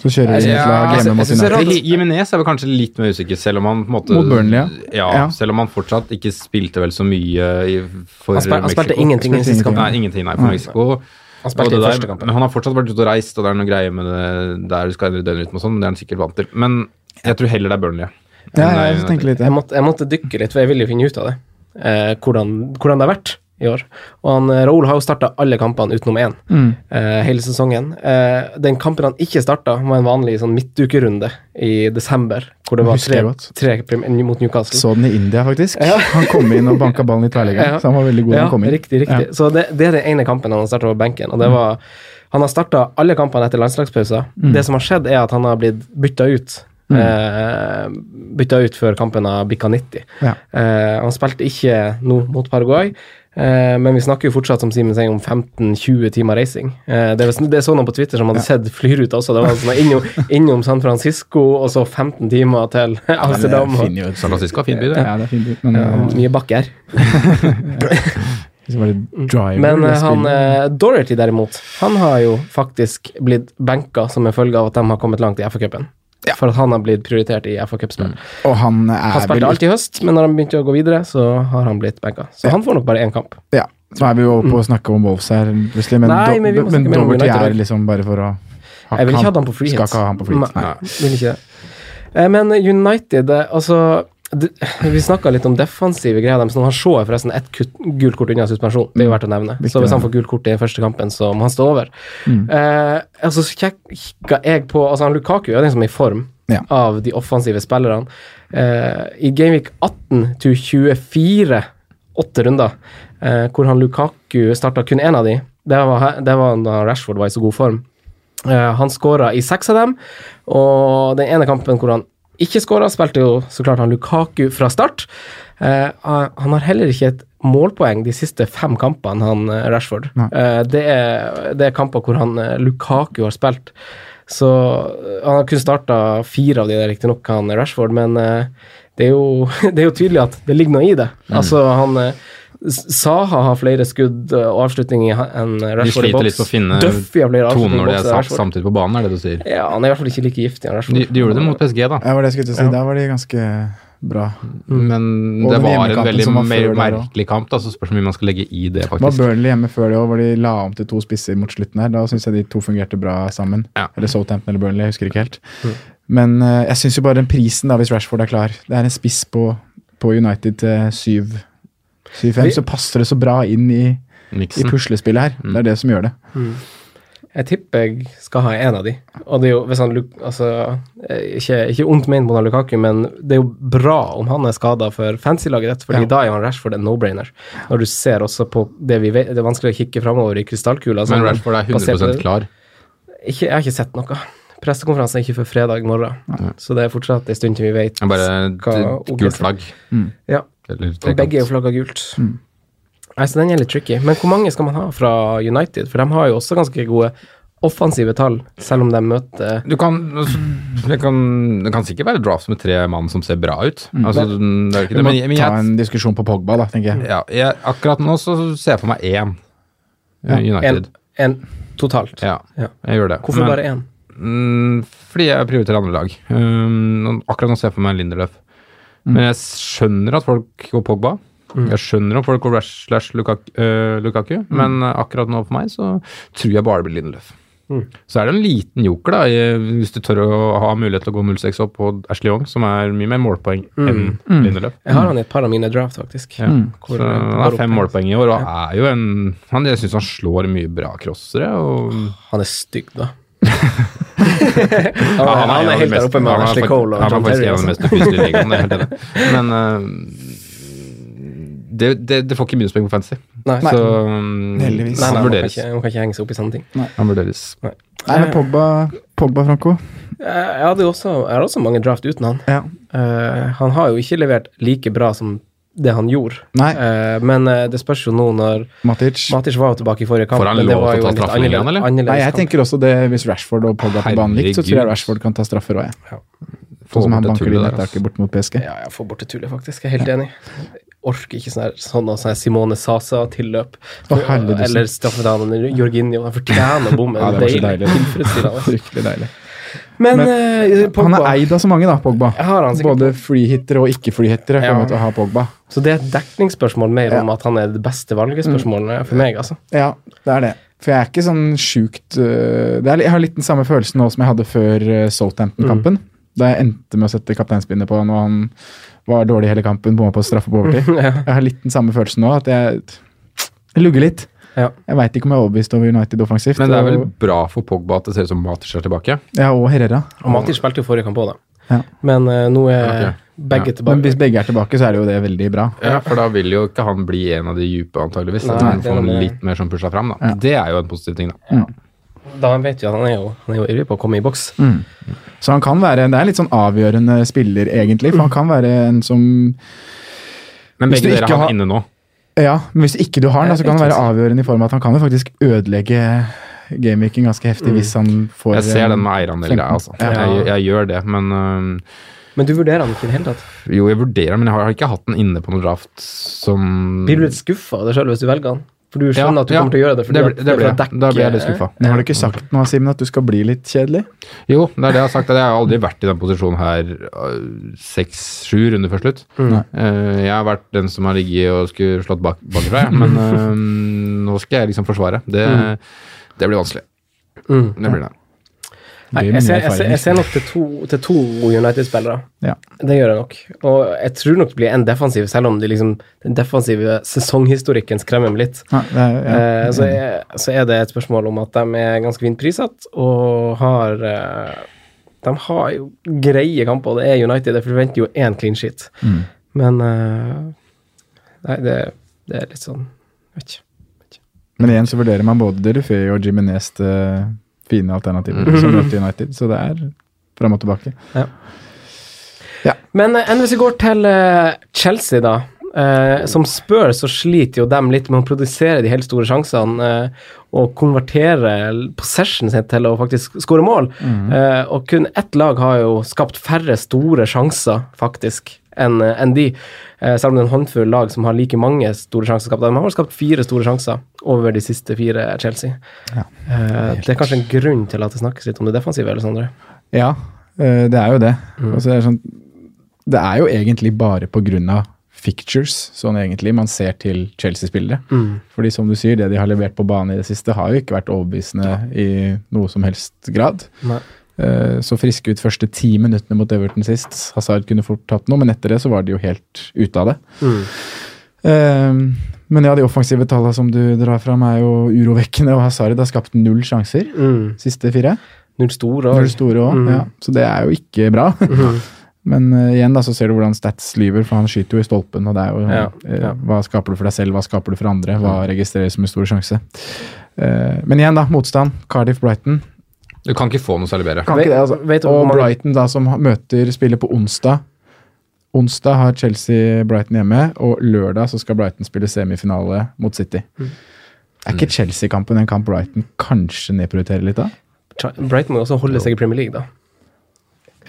Så kjører vi et lag
altså,
hjemme mot
jeg synes det er
United.
rart. Jimenez er vel kanskje litt mer usikker, selv om han på en måte,
Mot Burnley, ja.
Ja,
Ja.
Selv om han fortsatt ikke spilte vel så mye i, for
Han spil- han spilte
Mexico.
ingenting i
Spilte
siste kamp.
Nei, ingenting, nei, for Mexico.
Han spilte
Og
i
det
første
der,
kampen.
men han har fortsatt vært ute og reist, og det er noen greier med det der du skal endre døgnrytme og sånn, men det er han sikkert vant til. Men jeg tror heller det er Burnley.
Ja,
Nei,
jeg
nei,
tenker litt
Jeg
ja.
måtte, jeg måtte dykke litt, for jeg ville jo finne ut av det. Eh, hvordan, hvordan det har vært i år. Og han, eh, Raoul har jo starta alle kampene utenom én
Mm.
eh, hele sesongen. Eh, den kampen han ikke starta, var en vanlig sånn midtukerunde i desember, hvor det var
Husker
tre,
jeg godt.
tre prim- mot Newcastle.
Så den i India, faktisk. [laughs] Han kom inn og banka ballen i tverrleggeren,
Ja.
så han var veldig god da
ja,
han kom inn. Mm.
Riktig, riktig. Så det, det er den ene kampen han har starta over benken. Og det var, han har starta alle kampene etter landslagspausen. Det som har skjedd, er at han har blitt bytta ut.
Mm.
Eh, bytta ut før kampen har bikka 90.
Ja.
Eh, han spilte ikke nå mot Paraguay, eh, men vi snakker jo fortsatt som Simen sier, om 15-20 timer racing. Eh, det, var, det så noen på Twitter som hadde sett flyruta også. Det var sånn innom,
[laughs]
innom San Francisco, og så 15 timer til Amsterdam. og-
jo
San Francisco er fin by, det.
Ja, det er fin by, men
Ja,
eh,
mye bakker.
hvis det var litt driver
Men
det
eh, han,
spillet.
eh, Doherty derimot, han har jo faktisk blitt benka som en følge av at de har kommet langt i FA-cupen. For at han har blitt prioritert i FA-cupspill.
Og han eh, er
eh, Han spilte
vel
alt i høst, men når han begynte å gå videre, så har han blitt benka. Så han får nok bare én kamp.
Ja. Så er vi jo over på å snakke om Wolves her, plutselig. Men,
Mm. Nei, men vi må
do,
snakke
men
mer om
Doherty
United.
er liksom bare for å ha-
Jeg vil ikke ha han på free hit.
Skal ikke ha han på free hit.
Nei,
Nei.
vil ikke det. Eh, Men United, eh, altså d- vi snakka litt om defensive greier deres. nå. Han Shaw er forresten ett kut- gult kort unna suspensjon. Det er jo verdt å nevne.
Viktig,
Så hvis han
ja. Mm.
får gult kort i første kampen, så må han stå over. Eh, altså, så kikka jeg på altså, han Lukaku er den som er i form
Ja.
av de offensive spillerne. Eh, I Gameweek 18 til 24, åtte runder, eh, hvor han Lukaku starta kun én av de, det var, he- det var da Rashford var i så god form. Eh, han skåra i seks av dem, og den ene kampen hvor han ikke skåra, spilte jo så klart han Lukaku fra start. Eh, han han har heller ikke et målpoeng de siste fem kampene, han eh, Rashford.
Nei.
Eh, det, er, det er kamper hvor han eh, Lukaku har spilt. Så eh, han har kun starta fire av de der, riktignok, han Rashford, men eh, det, er jo, [laughs] det er jo tydelig at det ligger noe i det. Altså, han eh, S- Saha har flere skudd eh, og avslutninger i- enn
De
Rashford i
sliter litt
boks.
på å finne
Duffy har flere
tonen
avslutninger i boks
når de er
enn
satt
Rashford.
samtidig på banen, er det du sier.
Ja, han er i hvert fall ikke like giftig enn Rashford.
De, de gjorde det mot PSG, da.
Ja, det var det jeg skulle til å si. Der var de ganske bra.
Men
Mm. Og
det
den
var en
hjemmekampen
veldig
som var
mer
før der også.
merkelig kamp, da, så spørs hvor mye man skal legge i det,
Det var
faktisk.
Burnley hjemme før det òg, hvor de la om til to spisser mot slutten her. Da syns jeg de to fungerte bra sammen.
Ja. Mm.
Eller Southampton eller Burnley, jeg husker ikke helt. Men eh, jeg syns jo bare den prisen, da, hvis Rashford er klar Det er en spiss på, på United til 7 7-5,
Vi-
så passer det så bra inn i, i
Miksen.
puslespillet
Mm.
her. Det er det som gjør det.
Jeg tipper jeg skal ha en av de. Og det er jo, hvis han, Luk- altså, eh, ikke, ikke ondt ment mot han Lukaku, men det er jo bra om han er skada for fancy-laget ditt, fordi da er han Rashford en no-brainer. Når du ser også på det vi vet, det er vanskelig å kikke framover i krystallkula.
Men
sånn,
Rashford er
basert på
100
det-
klar.
Ikke, jeg har ikke sett noe. Pressekonferansen er ikke før fredag morgen, så det er fortsatt en stund til vi vet.
Det er Bare
Skal-
et gult flagg.
Ja,
Eller
og
trekant.
begge er jo flagga gult.
Mm.
Nei, så den er litt tricky. Men hvor mange skal man ha fra United? For de har jo også ganske gode offensive tall, selv om de møter
Du kan, altså, det, kan, det kan sikkert være drafts med tre mann som ser bra ut. Altså, det er jo ikke
Vi
det.
Mm. må
Men, men
ta
jeg, Mm.
en diskusjon på Pogba, da, tenker jeg.
ja, jeg, akkurat nå så ser jeg for meg én eh,
En,
United.
en totalt.
Ja,
Ja.
jeg gjør det.
Hvorfor
Men-
bare én?
Mm, fordi jeg prioriterer andre lag. Um, og akkurat nå ser jeg for meg Linderløf.
Mm.
Men jeg skjønner at folk går Pogba. Jeg skjønner at folk går Rash slash Lukaku, øh, Lukaku
Mm.
men øh, akkurat nå for meg så tror jeg bare det blir Linderløf.
Mm.
Så er det en liten joker, da, i- hvis du tør å ha mulighet til å gå 06 opp på Ashley Young, som er mye mer målpoeng enn Linderløf.
Mm. Jeg har han i et par av mine draft, faktisk.
Ja.
Hvor,
Så
eh,
han
bare
har fem
opp-
målpoeng i år, og er jo en han, Jeg syns han slår mye bra crossere. Og
Han er stygg,
[laughs]
da. han,
Ja,
han,
en
er
av de
helt der
beste-
oppe med
han er
Ashley
fakt-
Cole og
Han
John
er faktisk
Terry.
en av de
altså.
mest ufyselige i ligaen, det er helt [laughs] enig. Men eh, det, det, det får ikke minuspoeng på fantasy.
Nei.
Så
Nei,
mm,
Heldigvis.
nei,
han
man, kan
vurderes.
ikke, man kan ikke henge seg opp i sånne ting.
Han vurderes.
Nei, men Pogba, Pogba Franco.
Jeg, Eh, jeg hadde jo også, jeg har også mange draft uten han.
Ja.
Eh, han har jo ikke levert like bra som det han gjorde,
Nei.
Eh, men eh, det spørs jo nå når
Matic.
Matic var jo tilbake i forrige kamp,
Får han
men det
lov
var jo
til å
en
ta
litt
straffelegg igjen, eller?
annerledes, annerledes
Nei, jeg
kamp.
tenker også det hvis Rashford og Pogba er på banen likt, så tror jeg
Herregud.
Rashford kan ta straffer òg, jeg.
Få
Sånn som
bort
han
det
banker
tullet
inn
der,
etter
altså.
bort mot PSG.
Ja, jeg får bort til tullet, faktisk. Jeg er helt enig. orker ikke sånne, her- sånne, sånne her Simone Sasa-tilløp.
Å, herlig, du ser.
Eller straffedamen Jorginho. Han fortjener bommen.
Ja, det var så deilig.
Tilfredsstillende.
[laughs] Fryktelig deilig.
altså. Men,
Men
eh, Pogba,
Han er eid av så mange, da, Pogba.
Jeg har han sikkert.
Både freehittere og ikke-freehittere
Ja.
kommer til å ha Pogba.
Så det er et dekningsspørsmål mer om at han er det beste valget spørsmålet for meg. altså.
Mm. Ja, det er det. For jeg er ikke sånn sjukt øh, det er, li- Jeg har litt den samme følelsen nå som jeg hadde før øh, Southampton-kampen. Da jeg endte med å sette kapteinspinnet på han, og han var dårlig hele kampen, bomma på straffe på overtid. Jeg har litt den samme følelsen nå, at jeg, jeg lugger litt.
Ja.
Jeg veit ikke om jeg er overbevist over United offensivt.
Men det er vel
og,
bra for Pogba at det ser ut som Matic er tilbake.
ja, og Herrera.
Og Matic spilte jo forrige kamp òg, da.
Ja.
Men eh, nå er
Ja, ok.
begge
Men
tilbake.
hvis begge er tilbake, så er det jo det veldig bra.
Ja, For da vil jo ikke han bli en av de dype, antageligvis.
Nei, det
Da
er
får han
nemlig-
litt mer sånn pusha fram, da. Det er jo en positiv ting, da.
Da vet vi at han er jo, han er jo ivrig på å komme i boks.
Så han kan være, det er litt sånn avgjørende spiller, egentlig. For han kan være en som
Men
Hvis
begge
du
dere
ikke
har
har-
han inne nå.
Ja, men hvis ikke du har den, da, så kan han være avgjørende i form av at han kan jo faktisk ødelegge gameweeken ganske heftig hvis han får
Jeg ser
eh,
den med eierandel-greia, altså.
Ja.
Jeg, jeg gjør det, men øhm,
Men du vurderer han ikke i det hele tatt.
Jo, jeg vurderer, men jeg har ikke hatt den inne på noen draft som
Blir du litt skuffa av deg sjøl hvis du velger han? For du skjønner at du
ja.
kommer til å gjøre det. fordi
Det
at
blir- det blir
for å
jeg. Da blir jeg litt skuffa.
Men Har du ikke sagt noe, Simen, at du skal bli litt kjedelig?
Jo, det er det jeg har sagt. at Jeg har aldri vært i den posisjonen her øh, seks-sju runder før slutt.
Mm.
Eh, jeg har vært den som har ligget og skulle slått bak, bakfra, jeg. men øhm, nå skal jeg liksom forsvare. Det, det blir vanskelig.
Mm.
Det blir det.
Nei,
Det er
jeg,
mine
ser, jeg, ser,
erfaringer.
jeg ser nok til to, til to United-spillere.
Ja.
Det gjør jeg nok. Og jeg tror nok det blir en defensiv, selv om det liksom, den defensive sesonghistorikken skremmer meg litt.
Ja, det er, ja.
Eh, så, er, så er det et spørsmål om at de er ganske fint prissatt og har eh, De har jo greie kamper, og det er United. Jeg forventer jo én clean sheet.
Mm.
Men eh, Nei, det, det er litt sånn Vet ikke.
Men igjen så vurderer man både Delufeu og Jimenez til fine alternativer
Mm.
som møter United, så det er fram og tilbake.
Men eh, enn hvis vi går til eh, Chelsea, da. Eh, som spør, så sliter jo dem litt med å produsere de helt store sjansene eh, og konvertere possession sin til å faktisk skåre mål. Eh, og kun ett lag har jo skapt færre store sjanser, faktisk, enn eh, enn de. Eh, selv om det er en håndfull lag som har like mange store sjanser skapt. De har skapt fire store sjanser over de siste fire Chelsea. Eh, det er kanskje en grunn til at det snakkes litt om det defensive, Alessandre.
Ja, eh, det er jo det. Altså, det, er sånn, det er jo egentlig bare på grunn av fictures, sånn egentlig, man ser til Chelsea-spillere.
Mm.
Fordi som du sier, det de har levert på banen i det siste har jo ikke vært overbevisende i noe som helst grad.
Nei.
Eh, Så friske ut første ti minuttene mot Everton sist. Hazard kunne fort tatt noe, men etter det så var de jo helt ute av det. Eh, Men ja, de offensive tallene som du drar fram er jo urovekkende, og Hazard har skapt null sjanser siste fire.
mm. Null store
Når det store også, ja. Så det er jo ikke bra. [laughs] Men eh, igjen da, så ser du hvordan Stats lyver, for han skyter jo i stolpen. og det er jo
Ja,
eh,
ja.
Hva skaper du for deg selv, hva skaper du for andre? Hva registreres som en stor sjanse? Eh, men igjen, da. Motstand. Cardiff-Brighton.
Du kan ikke få noe særlig bedre.
Kan ikke det, altså.
Vet du hvor
Og
mange-
Brighton, da, som ha- møter spiller på onsdag. Onsdag har Chelsea Brighton hjemme, og lørdag så skal Brighton spille semifinale mot City. Er ikke Chelsea-kampen en kamp Brighton kanskje nedprioriterer litt av?
Brighton må jo også holde seg i Premier League, da.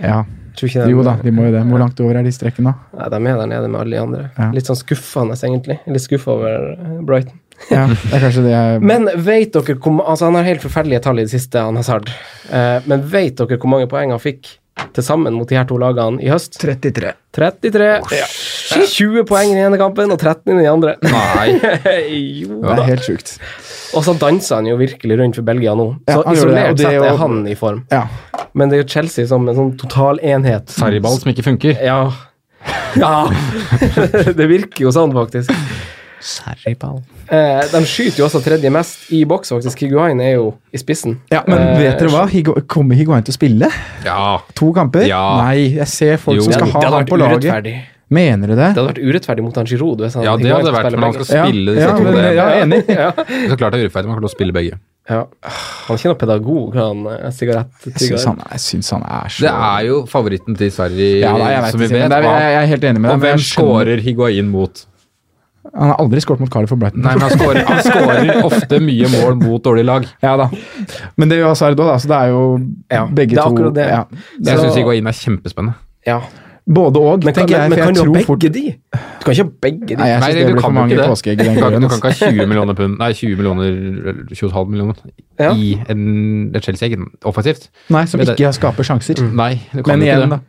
Ja.
Tror ikke de-
Jo da, de må jo det. Hvor langt over er de strekkene, da?
Nei, de er der nede med alle de andre.
Ja.
Litt sånn skuffende, egentlig. Litt skuffa over eh, Brighton.
Ja, det er kanskje det jeg
Men vet dere hvor ma- Altså, han har helt forferdelige tall i det siste, han Hazard. Eh, men vet dere hvor mange poeng han fikk til sammen mot de her to lagene i høst?
33.
33. Ja. 20 poeng i den ene kampen og 13 i den andre.
Nei.
[laughs] jo
Det er
da.
helt sjukt.
Og så danser han jo virkelig rundt for Belgia nå.
Ja,
Så
han gjør det, og
isolert
det
sett
er jo-
er han i form.
Ja.
Men det er jo Chelsea som en sånn total enhet.
Sarriball som ikke funker.
[laughs]
Ja. Ja! [laughs] det virker jo sånn, faktisk. Eh, de skyter jo også tredje mest i boks, faktisk. Higuain er jo i spissen.
ja, Men
Eh,
vet dere hva? Higo, kommer Higuain til å spille?
Ja.
To kamper?
Ja.
Nei, jeg ser folk
Jo.
som skal
det
ha
hadde
ham
vært
på laget.
urettferdig.
Mener du det?
Det hadde vært urettferdig mot han Giroud. hvis han-
ja, det
Higuain
hadde det vært.
spille
Men han
begge.
skal spille
ja,
disse to.
men,
Det
ja, enig.
det er så klart det er urettferdig. Man kan til å spille begge.
ja. Han er ikke noen pedagog, han eh,
Jeg syns
sigarettiggeren.
han, jeg syns han er så
Det er jo favoritten til Sverige,
ja, da, jeg, vet,
som vi
ikke, men
vet.
det er, jeg, jeg er helt enig med deg.
og
men
hvem
jeg skjønner-
scorer Higuain mot?
Han har aldri skåret mot Cardiff for Brighton.
Nei, men han scorer, han scorer ofte mye mål mot dårlige lag.
Ja da. Men det er jo Hazard òg, da. Så det er jo
Ja,
begge
det er
to
akkurat det.
Ja.
Jeg
Så-
syns Higuain er kjempespennende.
Ja.
Både òg,
Men kan,
tenker jeg.
men
For
kan
jeg
du ha
tror
begge
fort
de? Du kan ikke ha begge de.
Nei, jeg
Nei,
syns
du
det blir
kan
for
jo
mange
ikke det.
påskeegg. i
Du
den
kan, du
gården,
kan
ass.
ikke ha 20 millioner pund, nei 20 millioner, eller 20,5 millioner
Ja.
i en et Chelsea-egg offensivt.
Nei, som
Men det-
ikke skaper sjanser.
Mm.
Nei, du kan
Men
ikke det.
igjen, da.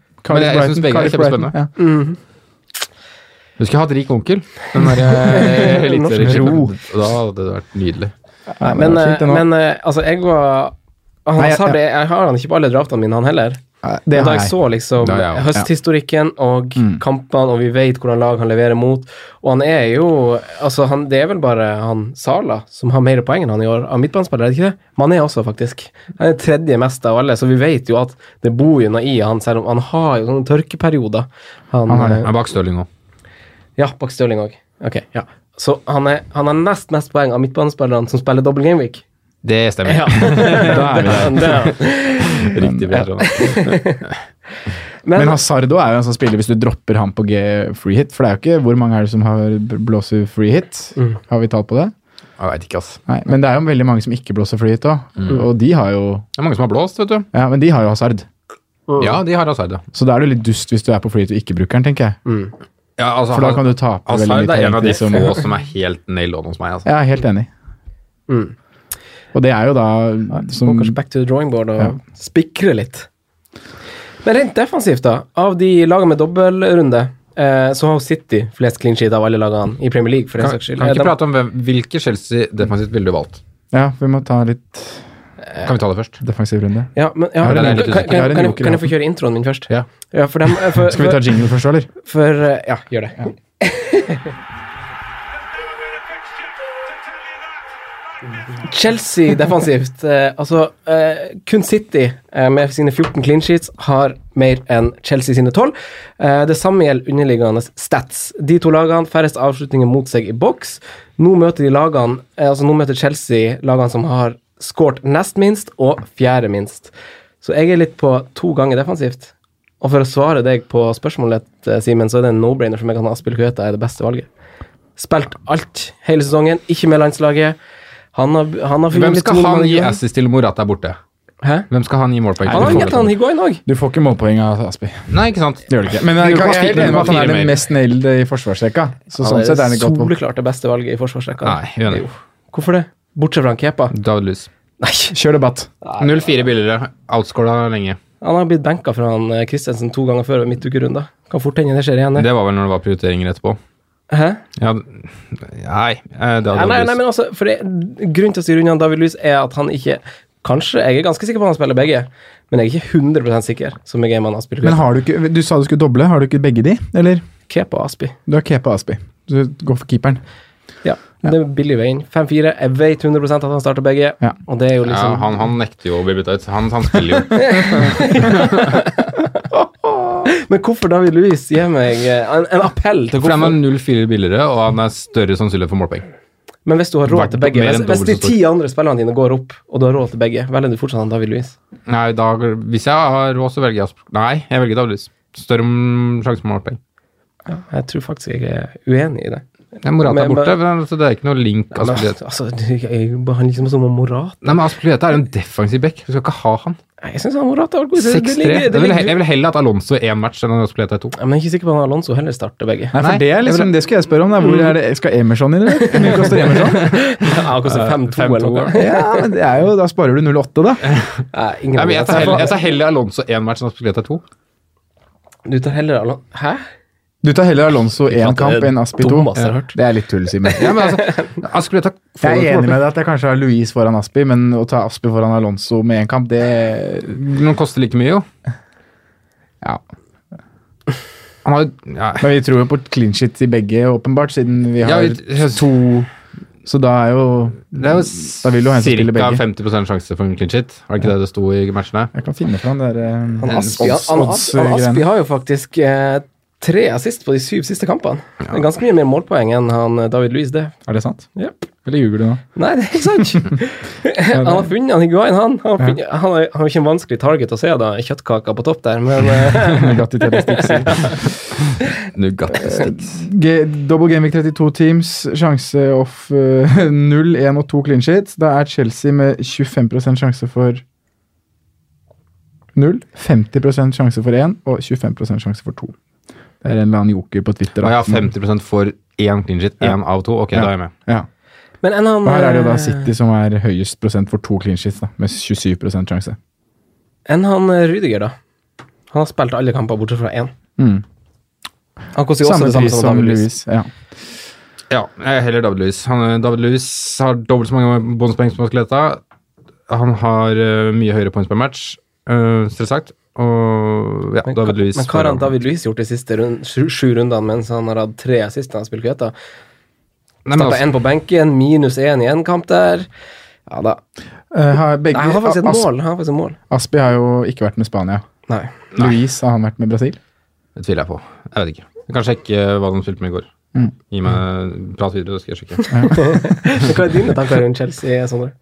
jeg-
Cardiff
jeg
Brighton,
synes begge er
Cardiff Brighton,
kjempespennende.
ja.
Husker jeg hadde rik onkel. Den
[laughs]
der eh, eliteserien. Da hadde det vært nydelig.
Nei,
Men,
Mm. det var
eh,
fint, det nå.
men eh, altså, jeg var han
Nei, jeg-
sa det, jeg har han ikke på alle draftene mine, han heller.
Nei,
Men
det
da
har
jeg
jeg.
så liksom
Ja, ja, ja.
høsthistorikken og kampene, og vi vet hvordan lag han leverer mot, og han er jo altså han, Det er vel bare han Sala som har mer poeng enn han i år av midtbanespillere, er det ikke det? Men han er også, faktisk. Han er tredje mest av alle, så vi vet jo at det bor jo noe i han, selv om han har jo sånne tørkeperioder. Han,
har det.
eh,
Jeg er bak Stirling nå.
ja, bak Stirling òg. Ok, ja. Så han er, han har nest mest poeng av midtbanespillerne som spiller double game week.
Det stemmer.
Ja.
[laughs]
da er vi
[laughs]
der.
Det er han.
[laughs] Riktig sånn. bra. Trond.
Men,
Men Hazardo er jo en sånn spiller hvis du dropper ham på G free hit. For det er jo ikke hvor mange er det som har blåser free hit.
Mm.
Har vi tall på det?
Jeg veit ikke, ass.
Nei, men det er jo veldig mange som ikke blåser free hit òg.
Mm.
Og de har jo
Det er mange som har blåst, vet du.
Ja, men de har jo Hazard. Mm.
Ja, de har Hazard, ja.
Så da er du litt dust hvis du er på free hit og ikke bruker den, tenker jeg.
ja altså,
For da
han-
kan du tape
Hazard
veldig mye
er en av
poeng
de
til
få
som-
som er helt nailed on hos meg, altså.
Jeg er helt enig.
Mm.
Og det er jo da
Gå
Mm.
som
kanskje back to the drawing board og
Ja.
spikre litt. Men rent defensivt, da. Av de lagene med dobbeltrunde, eh, så har City flest clean sheet av alle lagene i Premier League, for den
Kan,
saks skyld.
kan vi
Eh,
ikke
de-
prate om hvem, hvilke Chelsea defensivt ville du valgt?
Ja, vi må ta litt
Kan vi ta det først?
defensiv runde.
Ja, men, ja,
Ja,
kan,
det er
kan,
litt
kan,
usikker.
Jeg har en
kan, jeg,
joker i
kan jeg få
hånden.
kjøre introen min først?
Ja.
Ja,
[laughs]
for dem eh, for,
Skal vi ta
for,
jingle først, eller?
for, eh, Ja, gjør det. Chelsea defensivt. Eh, altså, eh, kun City eh, med sine 14 clean sheets har mer enn Chelsea sine 12. Eh, det samme gjelder underliggende stats. De to lagene færrest avslutninger mot seg i boks. Nå møter de lagene eh, Altså nå møter Chelsea lagene som har skåret nest minst og fjerde minst. Så jeg er litt på to ganger defensivt. Og for å svare deg på spørsmålet, eh, Simen, så er det en no-brainer for meg at Aspil Kueta er det beste valget. Spilt alt hele sesongen, ikke med landslaget. Han har, han har
Hvem skal han gi
ass?
assist til Morata er borte?
Hæ?
Hvem skal han gi målpoeng
Han har jo gitt han
til?
Higuain òg.
Du får ikke målpoeng av Aspi.
Nei, ikke sant? eh,
Det gjør du ikke. Men jeg,
Du kan
jeg er helt
spille
enig med at han
fire
er den
mer.
mest nailed i forsvarsrekka. Så sånn sett er det godt valg.
soleklart det beste valget i forsvarsrekka.
Nei, uenig.
Jo. Hvorfor det? Bortsett fra han Kepa.
David Lewis.
Nei,
Kjør debatt.
0-4 billigere. Outscora lenge.
han har blitt benka fra han eh, Christensen to ganger før ved midtukerunda. Kan fort hende det skjer igjen. Det.
Det var vel når det var prioriteringer etterpå.
Hæ?
Ja, nei, eh, det
Nei, nei, nei,
hadde David Lewis.
men altså, for det, Grunnen til å styre unna David Lewis er at han ikke Kanskje, jeg er ganske sikker på at han spiller begge, men jeg er ikke 100 sikker, som jeg er med han Aspi.
Men har du ikke Du sa du skulle doble. Har du ikke begge de, eller?
Kepa og Aspi.
Du har Kepa og Aspi. Du går for keeperen.
Ja, det er billig veien. 5-4. Jeg vet 100 at han starter begge,
Ja.
og det er jo liksom
ja, han, han nekter jo å bli bytta ut. Han, han spiller
[laughs]
jo.
Men hvorfor David Louis gir meg eh, en, en appell til
For han
hvorfor
er 0-4 billigere, og han er større sannsynlig for målpoeng.
Men hvis du har råd til begge
Mer
Hvis,
enn
hvis de
dobbelt så stor.
ti andre spillerne dine går opp, og du har råd til begge, velger du fortsatt han David Louis?
Nei, da, hvis jeg har råd, så velger jeg Asp- Nei, jeg velger David Lewis. Større mm, sjanse for målpoeng.
Jeg tror faktisk jeg er uenig i det.
Ja, Morata
Men-
er borte, men, så det er ikke noe link.
Men,
Aspilieta.
altså, du- jeg behandler liksom som om Morata
Nei, men Aspilieta er jo en defensiv back. Du skal ikke ha han.
Nei, Jeg syns Morata var god. Det- det
6-3.
ligger- det
Jeg vil
ligger-
he- jeg vil heller at Alonso én match enn at Aspilieta er to.
Ja, men jeg er ikke sikker på om Alonso heller starter begge. [laughs]
Nei, for
Nei,
det er
jeg
liksom
vil- Mm.
Det skal jeg spørre om. Da. Hvor er det, skal Emerson inn, eller? Hvor mye koster Emerson?
[laughs]
Han koster 5-2 eller
5-2,
noe.
Ja, men det er jo Da sparer du 08,
[laughs]
da.
Nei, ingen
Nei, men jeg tar heller,
jeg
jeg tar heller Alonso én match enn Aspilieta to.
Du tar heller Alonso Hæ?
Du tar heller Alonso én kamp enn Aspi to.
dummeste jeg har hørt.
Det er litt tull, Simen.
[laughs] Ja, men
[laughs]
altså, Aspilieta får
Jeg
jo
er
ikke
enig med
målpoeng.
deg at jeg kanskje har Louise foran Aspi, men å ta Aspi foran Alonso med én kamp, det
Noen koster like mye, jo.
Ja.
Han har jo ja.
Men vi tror jo på clean shit i begge, åpenbart, siden vi
Ja,
har
vi-
to Så da er jo
Det er jo
Da vil jo han som spiller
ca.
begge.
50 sjanse for en clean shit. Var det ikke det det sto i matchene?
Jeg kan finne fram det derre
Han Aspi,
odds-
han, han, han,
odds-greiene.
Aspi har jo faktisk eh, tre assist på de syv siste kampene. Det er ganske mye mer målpoeng enn han eh, David Luiz, det.
Er det sant?
Jep.
Eller
[laughs]
ljuger du nå?
Nei, det er ikke sant.
[laughs]
han har funnet han Higuain, han. Han har, funnet, han har, han har ikke en vanskelig target å se, da. Kjøttkaka på topp der, men eh, [laughs]
[laughs] Nugatti
[laughs]
Double Game Week 32 teams, sjanse off eh, [laughs] 0, 1 og 2 clean sheets. Da er Chelsea med 25 sjanse for null, 50 sjanse for én og 25 sjanse for to. Det er en eller annen joker på Twitter.
Og
da.
jeg har 50 for én clean shit, én av to. Ok,
Ja.
da er jeg med.
Ja.
Men en
Og
annen,
her er det jo da
eh,
City som er høyest prosent for to clean sheets, da, med 27 sjanse.
enn han eh, Rydiger, da. Han har spilt alle kamper bortsett fra én.
Mm.
Han koster jo også
Samme
det samme
pris som
David
Louis. Ja.
Ja, jeg heller David Lewis. Han, eh, David Lewis har dobbelt så mange bonuspoeng som Maskeletta. Han har eh, mye høyere points per match, eh, selvsagt. Og ja,
Men,
David Lewis
men hva har han
foran.
David Louis gjort de siste rund, sju, sju rundene mens han har hatt tre assist når han har spilt Kveta?
Nei, men
Stappa
altså,
én på benken, minus én i én kamp der. Ja da.
Eh, har begge,
Nei, han har faktisk et
As-
mål. Han har faktisk et mål.
Aspi har jo ikke vært med Spania.
Nei.
Louise har han vært med Brasil.
Det tviler jeg på. Jeg vet ikke. Jeg kan sjekke eh, hva de spilte med i går.
Mm.
Gi meg Prat videre, så skal jeg sjekke.
Men [laughs] hva er dine tanker rundt Chelsea, sånn Sondre?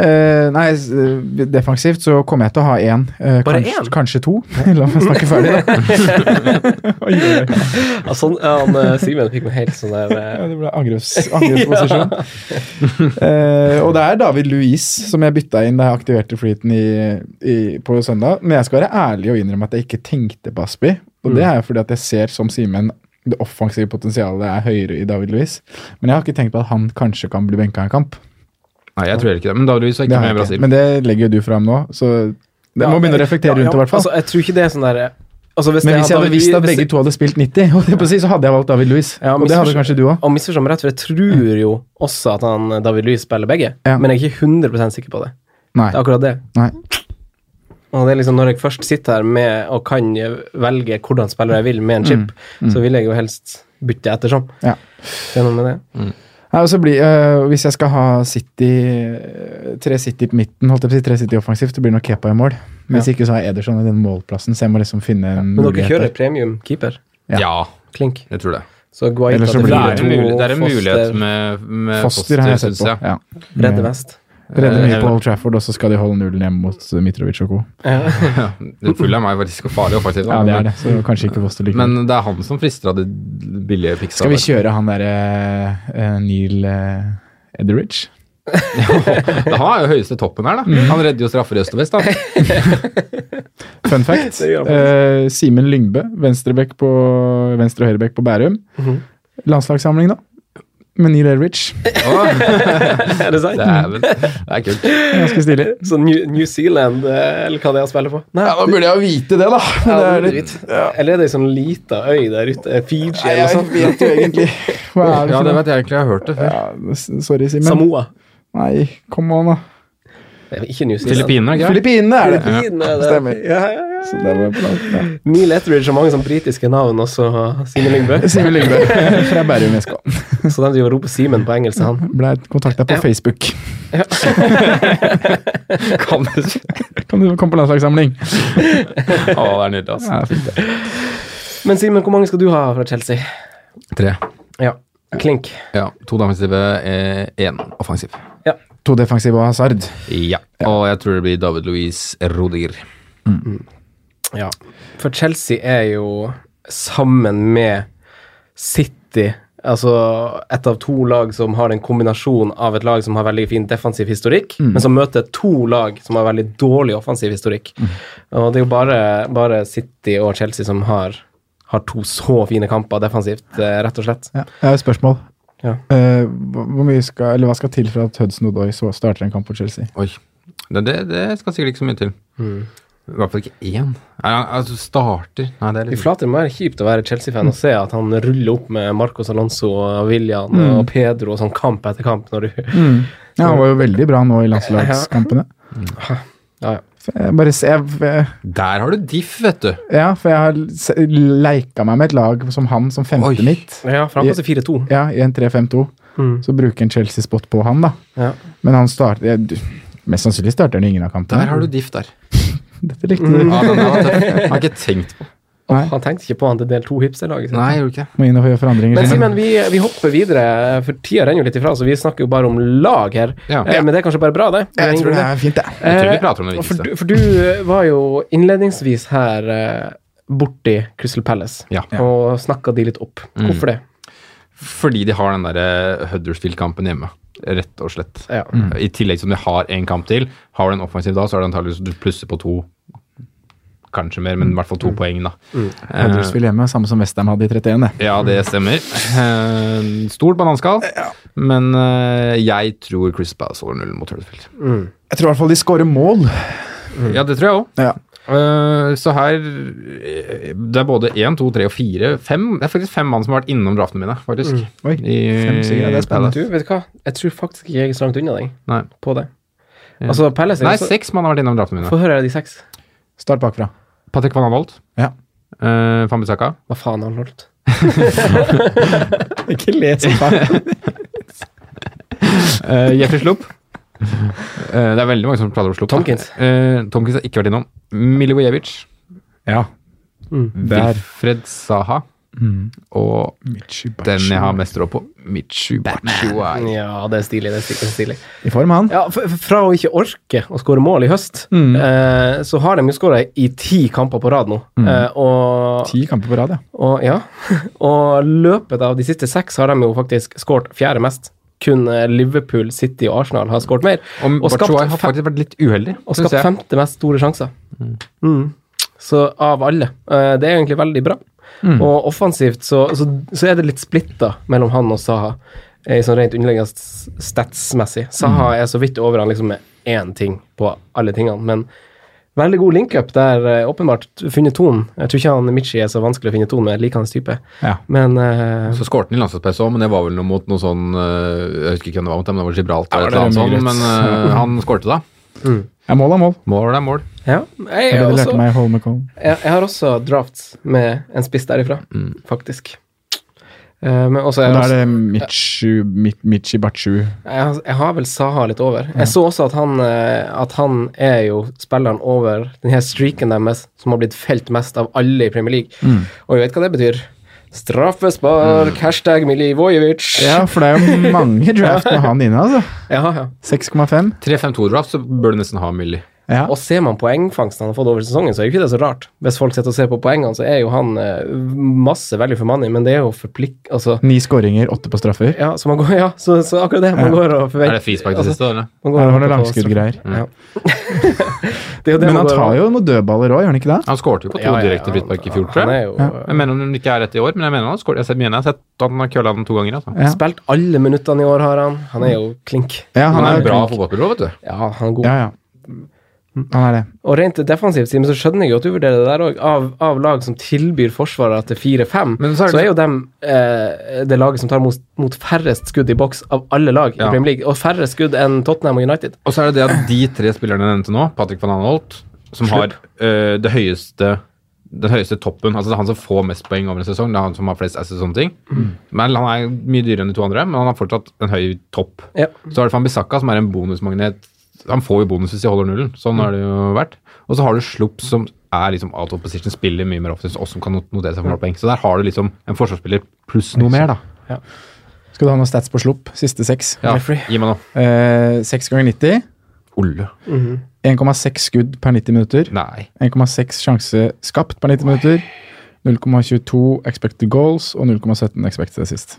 Eh, nei, s- eh, defensivt så kommer jeg til å ha én. eh,
Bare
kanskje,
én?
kanskje to. [laughs] La meg snakke ferdig, da.
[laughs]
Oi, oi, oi.
Ja, sånn, ja, han, eh, Simen fikk meg helt sånn der eh,
Ja, det ble angreps, angrepsposisjon. Eh, og det er David Louise som jeg bytta inn da jeg aktiverte flyten i, i, på søndag. Men jeg skal være ærlig og innrømme at jeg ikke tenkte på Aspi. Og det er jo fordi at jeg ser, som Simen, det offensive potensialet er høyere i David Louise. Men jeg har ikke tenkt på at han kanskje kan bli benka i en kamp.
Nei, jeg tror heller ikke det. Men David Lewis er
Det
ikke
har
med i
jeg ikke.
Brasil.
Men det legger jo du fram nå, så jeg må begynne å reflektere rundt det, i hvert fall.
Altså, jeg tror ikke det er sånn der eh, altså, hvis
Men
det
hvis jeg
hadde
hadde
David
visst at
Luiz-
begge to hadde spilt 90, [laughs] holdt jeg på å si, så hadde jeg valgt David Louise.
Ja,
og det hadde kanskje du òg.
Og misforstå meg rett, for jeg tror jo også at han eh, David Louis spiller begge,
Ja.
men jeg er ikke 100 sikker på det.
Nei.
Det er akkurat det.
Nei.
Og det er liksom Når jeg først sitter her med og kan velge hvordan spiller jeg vil med en chip, så vil jeg jo helst bytte ettersom.
Mm, Ja.
Det er noe med det.
Nei, og så blir, øh, Hvis jeg skal ha City øh, tre City på midten, holdt jeg på å si tre City offensivt, det blir nok Kepa i mål. Men hvis ikke så har jeg Ederson i den målplassen, så jeg må liksom finne en
Men dere
mulighet.
kjører
der.
premium keeper.
Ja.
Klink.
jeg tror det.
Så Guaita
Eller så
til
blir
Det
Fire,
er
fire,
en, mul det er en
Foster,
mulighet med, med
Foster har jeg sett
synes
på.
jeg.
Ja.
Redde vest.
Redder mye
Eh,
på Old Trafford, og så skal de holde nullen hjemme mot øh, Mitrovic og co.
Det fulle er meg faktisk og farlig. Faktisk,
Ja, det er det, så kanskje ikke Foster like
Men det er han som frister av de billige piksa.
Skal vi
der.
kjøre han derre øh, Neil øh, Edderidge?
[laughs] Han er jo høyeste toppen her, da. Han redder jo straffer i øst og vest, [laughs] da.
Fun fact.
gjør han
Eh, Simen Lyngbø, venstrebekk på venstre- og høyrebekk på Bærum. Landslagssamling, da. Med Neil Edderidge.
Er det sant?
Dæven. Det er kult.
Ganske stilig.
Så New, New Zealand, eh, eller hva det er han spiller på? Nei,
Ja, Da burde jeg jo vite det, da. Men det er litt,
dritt. Eller er det ei sånn lita øy der ute? Eh, Fiji
Nei,
eller
jeg
sånn?
vet jo egentlig Hva er det
Ja,
for
det
noe?
vet jeg egentlig. Jeg har hørt det før.
Ja, s- sorry,
[laughs]
Simen.
Samoa.
Nei, come on, da.
Det er ikke New Zealand.
Filippinene, ikke sant?
Filippinene er det!
Filippinene, det.
Stemmer.
Ja, ja, ja.
Så det var på langt, ja.
Neil Etheridge har mange sånn britiske navn også, Simen Lyngbø.
Simen Lyngbø [laughs] fra Bærum SK.
Så de driver og roper Simen på engelsk, han.
[laughs] Ble kontakta på Facebook.
Kan du si?
Kan du komme på landslagssamling?
Å, det er nydelig, altså.
Ja, fint, det.
Men Simen, hvor mange skal du ha fra Chelsea?
Tre.
Ja. Klink.
Ja, to defensive, én offensiv.
To defensive og Hazard.
Ja. Og jeg tror det blir David Louis Rodiger.
Ja. For Chelsea er jo sammen med City Altså et av to lag som har en kombinasjon av et lag som har veldig fin defensiv historikk, men som møter to lag som har veldig dårlig offensiv historikk. Og det er jo bare, bare City og Chelsea som har, har to så fine kamper defensivt, eh, rett og slett.
Ja. Jeg har et spørsmål.
Ja.
Eh, hvor hvor mye skal, eller Hva skal til for at Hudson Odoi så starter en kamp for Chelsea?
Oi. Det, det, det skal sikkert ikke så mye til. I hvert fall ikke én. Nei, han- altså, starter Nei, det er
I
litt
flater må være kjipt å være Chelsea-fan og se at han ruller opp med Marcos Alonso og William og Pedro og sånn kamp etter kamp når du [laughs]
Ja, Han var jo veldig bra nå i landslagskampene.
Ja, ja.
For Jeg bare se, jeg,
Der har du diff, vet du.
ja, for jeg har se- leika meg med et lag som han som femte
Oi.
mitt.
Ja, for han Mm. koster 4-2.
Ja, i en 3-5-2. Så bruker en Chelsea-spot på han, da.
Ja.
Men han starter jeg- du- Mest sannsynlig starter han i ingen av kampene.
Der har du diff, der.
Dette likte
Mm.
du.
Ja, den [laughs] der var tøff. Jeg har ikke tenkt på
Nei,
Han tenkte ikke på han til del to hipsterlaget sitt.
Nei, jeg gjorde ikke det.
må inn og gjøre forandringer.
Men
Simen.
Simen, vi, vi hopper videre, for tida renner jo litt ifra, så vi snakker jo bare om lag her.
Ja.
Eh, Men det er kanskje bare bra, det? Eh,
jeg tror det er fint, det.
Jeg tror vi prater om det
For,
viktigste.
du- for du eh, var jo innledningsvis her eh, borti Crystal Palace
Ja.
og snakka de litt opp. Hvorfor det?
Fordi de har den derre Huddersfield-kampen hjemme. Rett og slett.
Ja.
I tillegg som de har en kamp til. Har du en offensiv da, så er det antakeligvis du plusser på to kanskje mer, men i hvert fall to poeng, da. Eh,
Huddersfield hjemme, samme som Westham hadde i 31. Det.
ja, det stemmer. Eh, stort bananskall, men eh, jeg tror Chris Bass over nullen mot Huddersfield.
Jeg tror i hvert fall de skårer mål.
Ja, det tror jeg òg.
Ja.
Eh, så her eh, Det er både én, to, tre og fire. Fem, det er faktisk fem mann som har vært innom draftene mine, faktisk.
Oi,
I-
fem seire, det er spennende.
Palace.
Du, vet du hva? Jeg tror faktisk ikke jeg er så langt unna deg
Nei.
på det. Altså, Palace er
Nei,
jo så-
seks mann har vært innom draftene mine.
Få høre de seks.
Start bakfra.
Patrick van Anholt.
[laughs] Ja.
Eh, Fambisaka.
Hva faen har han
[laughs]
holdt?
Ikke le som
Uh, Jeffrey Slupp. [laughs] Eh, det er veldig mange som prater om Slupp. da.
Tomkins.
Eh, Tomkins har ikke vært innom. Milivojevic.
Ja. Der.
Wilfred Saha. Mm. Og den jeg har mest råd på, Michu Batshuayi.
Ja, det er stilig. det er stilig, det er stilig.
I form, han.
Ja, f- f- Fra å ikke orke å skåre mål i høst,
Mm.
eh, så har de jo skåra i ti kamper på rad nå.
Mm.
Eh, og,
Ti kamper på rad, ja.
og ja, [laughs] og løpet av de siste seks har de jo faktisk skåret fjerde mest. Kun eh, Liverpool, City og Arsenal har skåret mer.
Og
Og skapt
Batshuayi har
fem-
faktisk vært litt uheldig,
Og
synes
skapt
jeg.
femte mest store sjanser. Mm. Så av alle. Eh, Det er egentlig veldig bra.
Mm.
Og offensivt så, så, så er det litt splitta mellom han og Saha, eh, sånn rent underliggende s- statsmessig. Saha
Mm.
er så vidt over han liksom med én ting på alle tingene, men veldig god link-up der, eh, åpenbart. Funnet tonen. Jeg tror ikke han Michi er så vanskelig å finne tonen med, jeg liker hans type.
Ja.
Men eh,
Så skårte han i landslagspress òg, men det var vel noe mot noe sånn eh, Jeg husker ikke hvem det var mot, men det var Gibraltar
Ja,
eller noe
det er
sånt.
mye
Men
greit.
eh, han skårte, da.
ja mål er mål.
Mål er mål.
ja. Jeg,
Det er
er
det de lærte
også,
meg i Hall McComb.
jeg, jeg har også drafts med en spiss derifra, faktisk. Eh, men også,
Mm. Og
jeg
da
har
altså-
er det Michu, Mit- Michi Bachu.
Jeg har, jeg har vel Saha litt over. Jeg så også at han, eh, at han er jo spilleren over den her streaken deres som har blitt felt mest av alle i Premier League.
Mm.
Og vi vet hva det betyr. Straffespark, hashtag Milivojevic.
Ja, for det er jo
[laughs]
mange draft med han inne, altså.
ja, ja.
6,5.
3-5-2-draft, så bør du nesten ha Millie.
Ja.
Og ser man poengfangsten han har fått over sesongen, så er jo ikke det så rart. Hvis folk sitter og ser på poengene, så er jo han eh, masse value for money, men det er jo forplikt... Altså,
Ni skåringer, åtte på straffer.
ja, så, man går, ja så, så akkurat det. Man går og
Er
forventer
det frispark til
altså,
siste, eller?
man går
Her
og håper
var det
på
langskuddgreier.
straff. Ja. det er jo det
Men
man går
han
og-
tar jo noen dødballer òg, gjør han ikke det?
Han skårte jo på to
Ja, ja, ja,
direkte frispark i fjor,
han-
tror jeg.
Han er jo
Jeg mener om det ikke er rett i år, men jeg mener han har skåret. Jeg ser- mener jeg har sett at han har kølla den to ganger. Altså.
Ja.
Spilt alle minuttene i år, har han. Han er jo klink.
Ja,
Han er
jo
en bra
klink.
fotballspiller, vet du.
Ja, han er god.
Ja, ja. Han er det.
Og rent defensivt, Simen, så skjønner jeg jo at du vurderer det der òg. Av, av lag som tilbyr forsvarere til 4-5,
Men
så,
så er det-
er jo dem eh, det laget som tar mot, mot færrest skudd i boks av alle lag
Ja.
i Premier League. Og færre skudd enn Tottenham og United.
Og så er det det at de tre spillerne jeg nevnte nå, Patrick van Anholt, som har eh, det høyeste den høyeste toppen, altså det er han som får mest poeng over en sesong, det er han som har flest assists og sånne ting. Men han er mye dyrere enn de to andre, men han har fortsatt en høy topp.
Ja.
Så er det Fambisaka som er en bonusmagnet. Han får jo bonus hvis de holder nullen, sånn har det jo vært. Og så har du Slupp som er liksom out of position, spiller mye mer offensivt, og som kan not- notere seg for målpoeng. Så der har du liksom en forsvarsspiller pluss noe mer, da.
Skal du ha noen stats på slupp? Siste seks.
Ja,
Referee.
gi meg nå.
Eh, Seks ganger 90.
Olle.
1,6 skudd per 90 minutter.
Nei.
1,6 sjanse skapt per 90 minutter. 0,22 expected goals og 0,17 expected assist.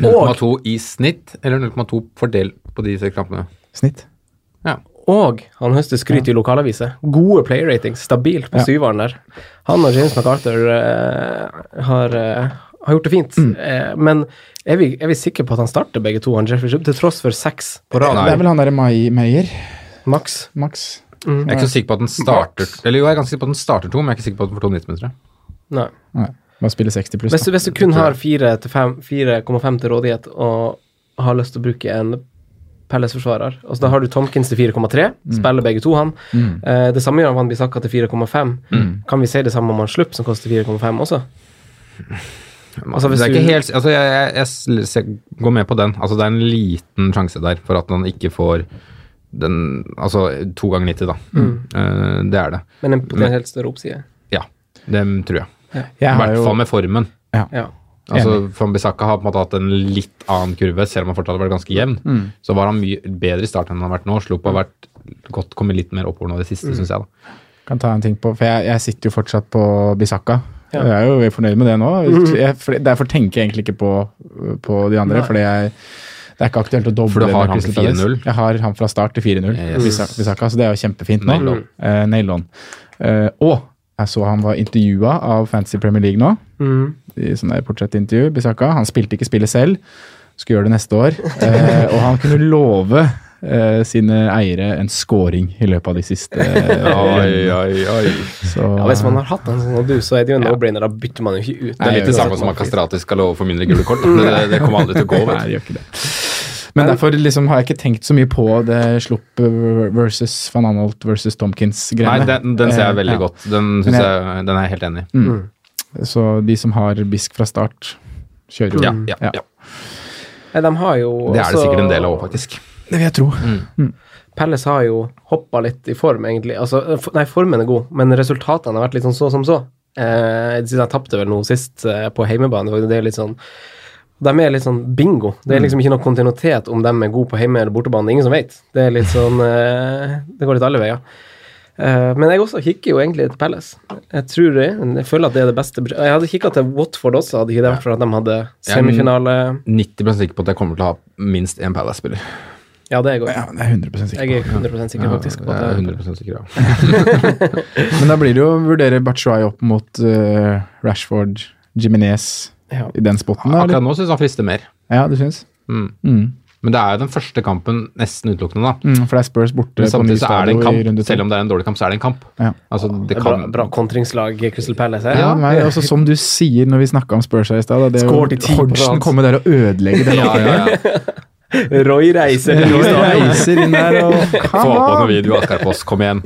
0,2 i snitt, eller 0,2 fordelt på de seks kampene.
Snitt.
Og han høster skryt i lokalaviser. Gode playratings, stabilt på syveren der. Han og James MacArthur eh, har, eh, har gjort det fint.
Mm.
Eh, men er vi, er vi sikre på at han starter begge to, han Jeffrey Shubb, til tross for seks på rad?
Det er vel han derre Mai Meyer,
Maks.
Max.
Mm.
Jeg er ikke så sikker på at den starter Eller jo, jeg er ganske sikker på at den starter to, men jeg er ikke sikker på at den får to 90-minutter.
Nei.
Nei, bare spille 60 pluss.
Hvis, du-
da.
hvis du kun har 4 til fem- 4,5 til rådighet og har lyst til å bruke en Pelles-forsvarer altså, Da har du Tomkins til 4,3,
Mm.
spiller begge to, han. Eh, det samme gjør Van Bissaka til 4,5.
Mm.
Kan vi si det samme om han Slupp, som koster 4,5 også? Altså, hvis
det er
du-
ikke helt, altså, jeg, jeg, jeg, s- jeg går med på den. Altså, det er en liten sjanse der for at han ikke får den Altså to ganger 90, da. Eh, det er det.
Men en potensielt større oppside.
Ja. Det tror jeg. I
Jeg har
hvert
jo,
fall med formen.
Ja.
Altså, Fambisaka har på en måte hatt en litt annen kurve, selv om han fortsatt har vært ganske jevn. Så var han mye bedre i starten enn han har vært nå. Slupp har vært godt kommet litt mer oppover nå i det siste, synes jeg. da.
kan ta en ting på, for jeg, jeg sitter jo fortsatt på Bisakka.
Ja. Mm.
Jeg er jo veldig fornøyd med det
[laughs]
nå. Jeg, for, derfor tenker jeg egentlig ikke på, på de andre.
Nei.
fordi jeg, Det er ikke aktuelt å doble.
For du har
med
han
Crystal
til
Palace.
4-0.
Jeg har han fra start til 4-0.
Yes.
Bisa- Bisakka, så det er jo kjempefint nå.
Nail on.
Eh, nail on. Eh, og Jeg så han var intervjua av Fantasy Premier League nå.
Mm.
I sånn der portrettintervju, Bisaka. Han spilte ikke spillet selv, skulle gjøre det neste år. Eh, og han kunne love eh, sine eiere en scoring i løpet av de siste
[laughs]
eh,
Oi,
rundene.
oi, oi.
Så,
Ja, hvis man har hatt en sånn som du, så er det jo en no-brainer. Da bytter man jo sånn ikke ut.
Det er litt det samme som at kastrater skal love for mindre gule kort. da. Det, det kommer aldri til å gå.
eh, Nei,
Vet.
det gjør ikke det. Men derfor liksom har jeg ikke tenkt så mye på det Slupp eh, versus Van Anholt versus
du. Nei,
Tomkins-greiene.
den, den ser jeg
Eh,
veldig
ja.
godt. Den, synes jeg, den er jeg helt enig i.
Så de som har bisk fra start, kjører jo.
Ja, ja,
Ja.
Mm. ja.
Nei, de har jo
Det er det
også-
sikkert en del av òg, faktisk.
Det vil jeg tro.
Mm.
Pelles har jo hoppa litt i form, egentlig. Altså, eh, for, nei, formen er god, men resultatene har vært litt sånn så som så. Eh, siden jeg tapte vel noe sist eh, på heimebane, og det er litt sånn de er litt sånn bingo. Det er liksom ikke noe kontinuitet om de er gode på hjemme- eller bortebane. Det er ingen som vet. Det er litt sånn eh, Det går litt alle veier. Eh, men jeg også kikker jo egentlig til Pelles. Jeg tror det. Jeg føler at det er det beste budsjettet. Jeg hadde kikka til Watford også, hadde ikke det vært for at de hadde semifinale.
90 sikker på at jeg kommer til å ha minst én Palace-spiller.
Ja, det er jeg òg.
Ja, men jeg er 100 sikker
Jeg er
på.
100 sikker faktisk på
Ja, jeg er
at det
100 sikker, ja.
Men da blir det jo å vurdere Batshuayi opp mot eh, Rashford, Jiminez
Ja.
i den spotten. Da, eller?
Akkurat nå syns han frister mer.
Ja, du syns?
Mm.
Mm.
Men det er jo den første kampen nesten utelukkende, da.
Mm, for det er Spurs borte
Men
på ny
samtidig så er det
stadion
en
i runde
kamp.
to.
Selv om det er en dårlig kamp, så er det en kamp.
Ja.
Altså, det
Det er bra,
kan
bra kontringslag Crystal Palace eh? her.
Ja, nei, altså Som du sier når vi snakka om Spurs her i stad, da, det er
Skår til ti
jo
på
Hodgson
rad.
kommer der og ødelegger
[laughs]
det.
ja, ja, ja.
Roy reiser til
Roy
Nordstadion.
reiser inn der og
[laughs] Få på noen
Come on!
video, Askar Foss. Kom igjen.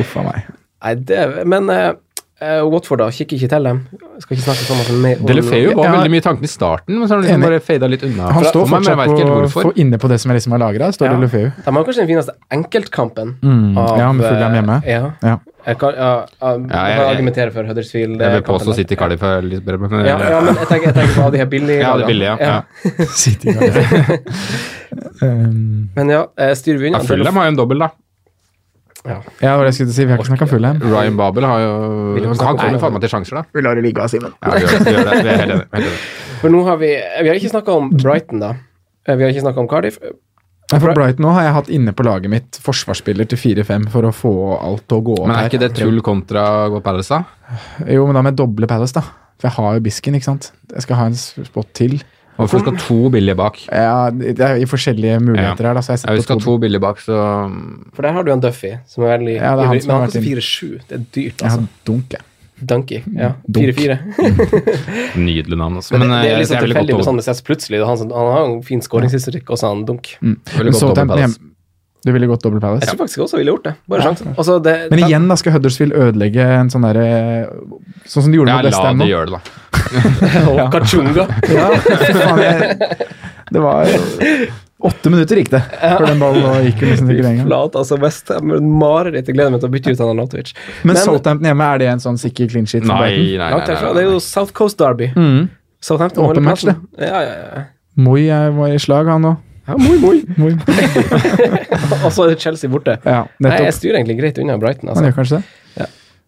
Uff a meg.
Nei, det Men eh, eh, Watford, da. Kikker ikke til dem. Skal ikke snakke sånn så mye mer om
Delefeu var
Ja.
veldig mye i tanken i starten, men så har han liksom
Enig.
bare fada litt unna.
Han
fra-
står
for meg, men jeg
fortsatt
vet ikke helt
på,
hvorfor.
for inne på det som jeg liksom har lagra. Står
Ja.
det Lefeu.
De har kanskje den fineste enkeltkampen.
Mm, ja, med Fulham
eh,
hjemme.
Ja.
[laughs]
Ja.
Jeg kan ja, ja, jeg,
Ja, jeg-
kan
jeg-
argumentere for Huddersfield.
Jeg vil
eh, kampen
påstå
der.
City Cardiff er litt bedre, men
Ja, ja, men jeg tenker, jeg tenker på de her billige
Ja,
lagene.
det
Eh,
ville jeg. Ja. [laughs]
City, ja. [laughs] um,
Men ja, eh, styrer vi
Ja,
unna
Fulham har jo en dobbel, da.
Ja.
ja, det var det jeg skulle si. Vi har ikke snakka Fulham.
Ryan Babel har jo
Vil du
Han
snakke om
kommer
det?
faen meg til sjanser, da.
Vi lar det ligge, Simen.
Ja, vi gjør det. Vi gjør det. Vi er helt enige. Helt
[laughs]
enige.
For nå har vi eh, Vi har ikke snakka om Brighton, da. Eh, Vi har ikke snakka om Cardiff.
For Brighton nå har jeg hatt inne på laget mitt forsvarsspiller til 4-5 for å få alt til å gå opp
Men er ikke det
her.
tull kontra Go Palace, da?
Jo, men da med doble Palace, da. For jeg har jo Bisken, ikke sant. Jeg skal ha en spot til.
Hvorfor skal to billige bak?
Ja, det er jo forskjellige muligheter
Ja.
her, da. Så jeg
Ja, vi
setter
skal
på
ha to billige bak, så
For der har du en Duffy, som er veldig
Ja, det er han som
Men
har
han koster
vært inn.
4-7. Det er dyrt,
Jeg har
altså.
dunk, jeg.
Donkey. Ja.
Dunk.
4-4.
Nydelig navn, altså.
Men
Men
det, det er litt sånn
jeg ville
tilfeldig
gått
med
over.
sånne sets plutselig. Han, som- han har jo en fin skåringshistorikk, og så har han dunk.
Jeg ville
Mm. Men
gått
så
over
Southampton
Palace.
hjemme. Du ville gått
Jeg
dobbelt Palace?
tror faktisk også jeg ville gjort det. Bare sjansen. Altså, det,
Men igjen da skal Huddersfield ødelegge en sånn derre Sånn som de gjorde
Ja,
med West
la
Ham
de
nå.
gjøre det, da.
Og Kachunga.
Ja, fy faen, jeg, det var jo- Åtte minutter gikk det før den ballen nå gikk jo nesten ikke den gang.
Flat, altså West Ham. et Mareritt. Jeg gleder meg til å bytte ut han Arnautovic.
Men Southampton hjemme, er det en sånn sikker clean sheet? for
Nei,
Brighton?
nei,
langt
nei.
herfra. Det
nei,
er jo
nei.
South Coast Derby.
Mm.
Southampton
Åpen
holder
match,
plassen. Ja, ja, ja.
Moi er- var i slag, han nå.
ja moi, moi.
[laughs] Moi.
Og så er det Chelsea borte.
Ja,
Nei, jeg
nettopp.
styrer egentlig greit unna Brighton.
Han
Altså.
gjør kanskje det.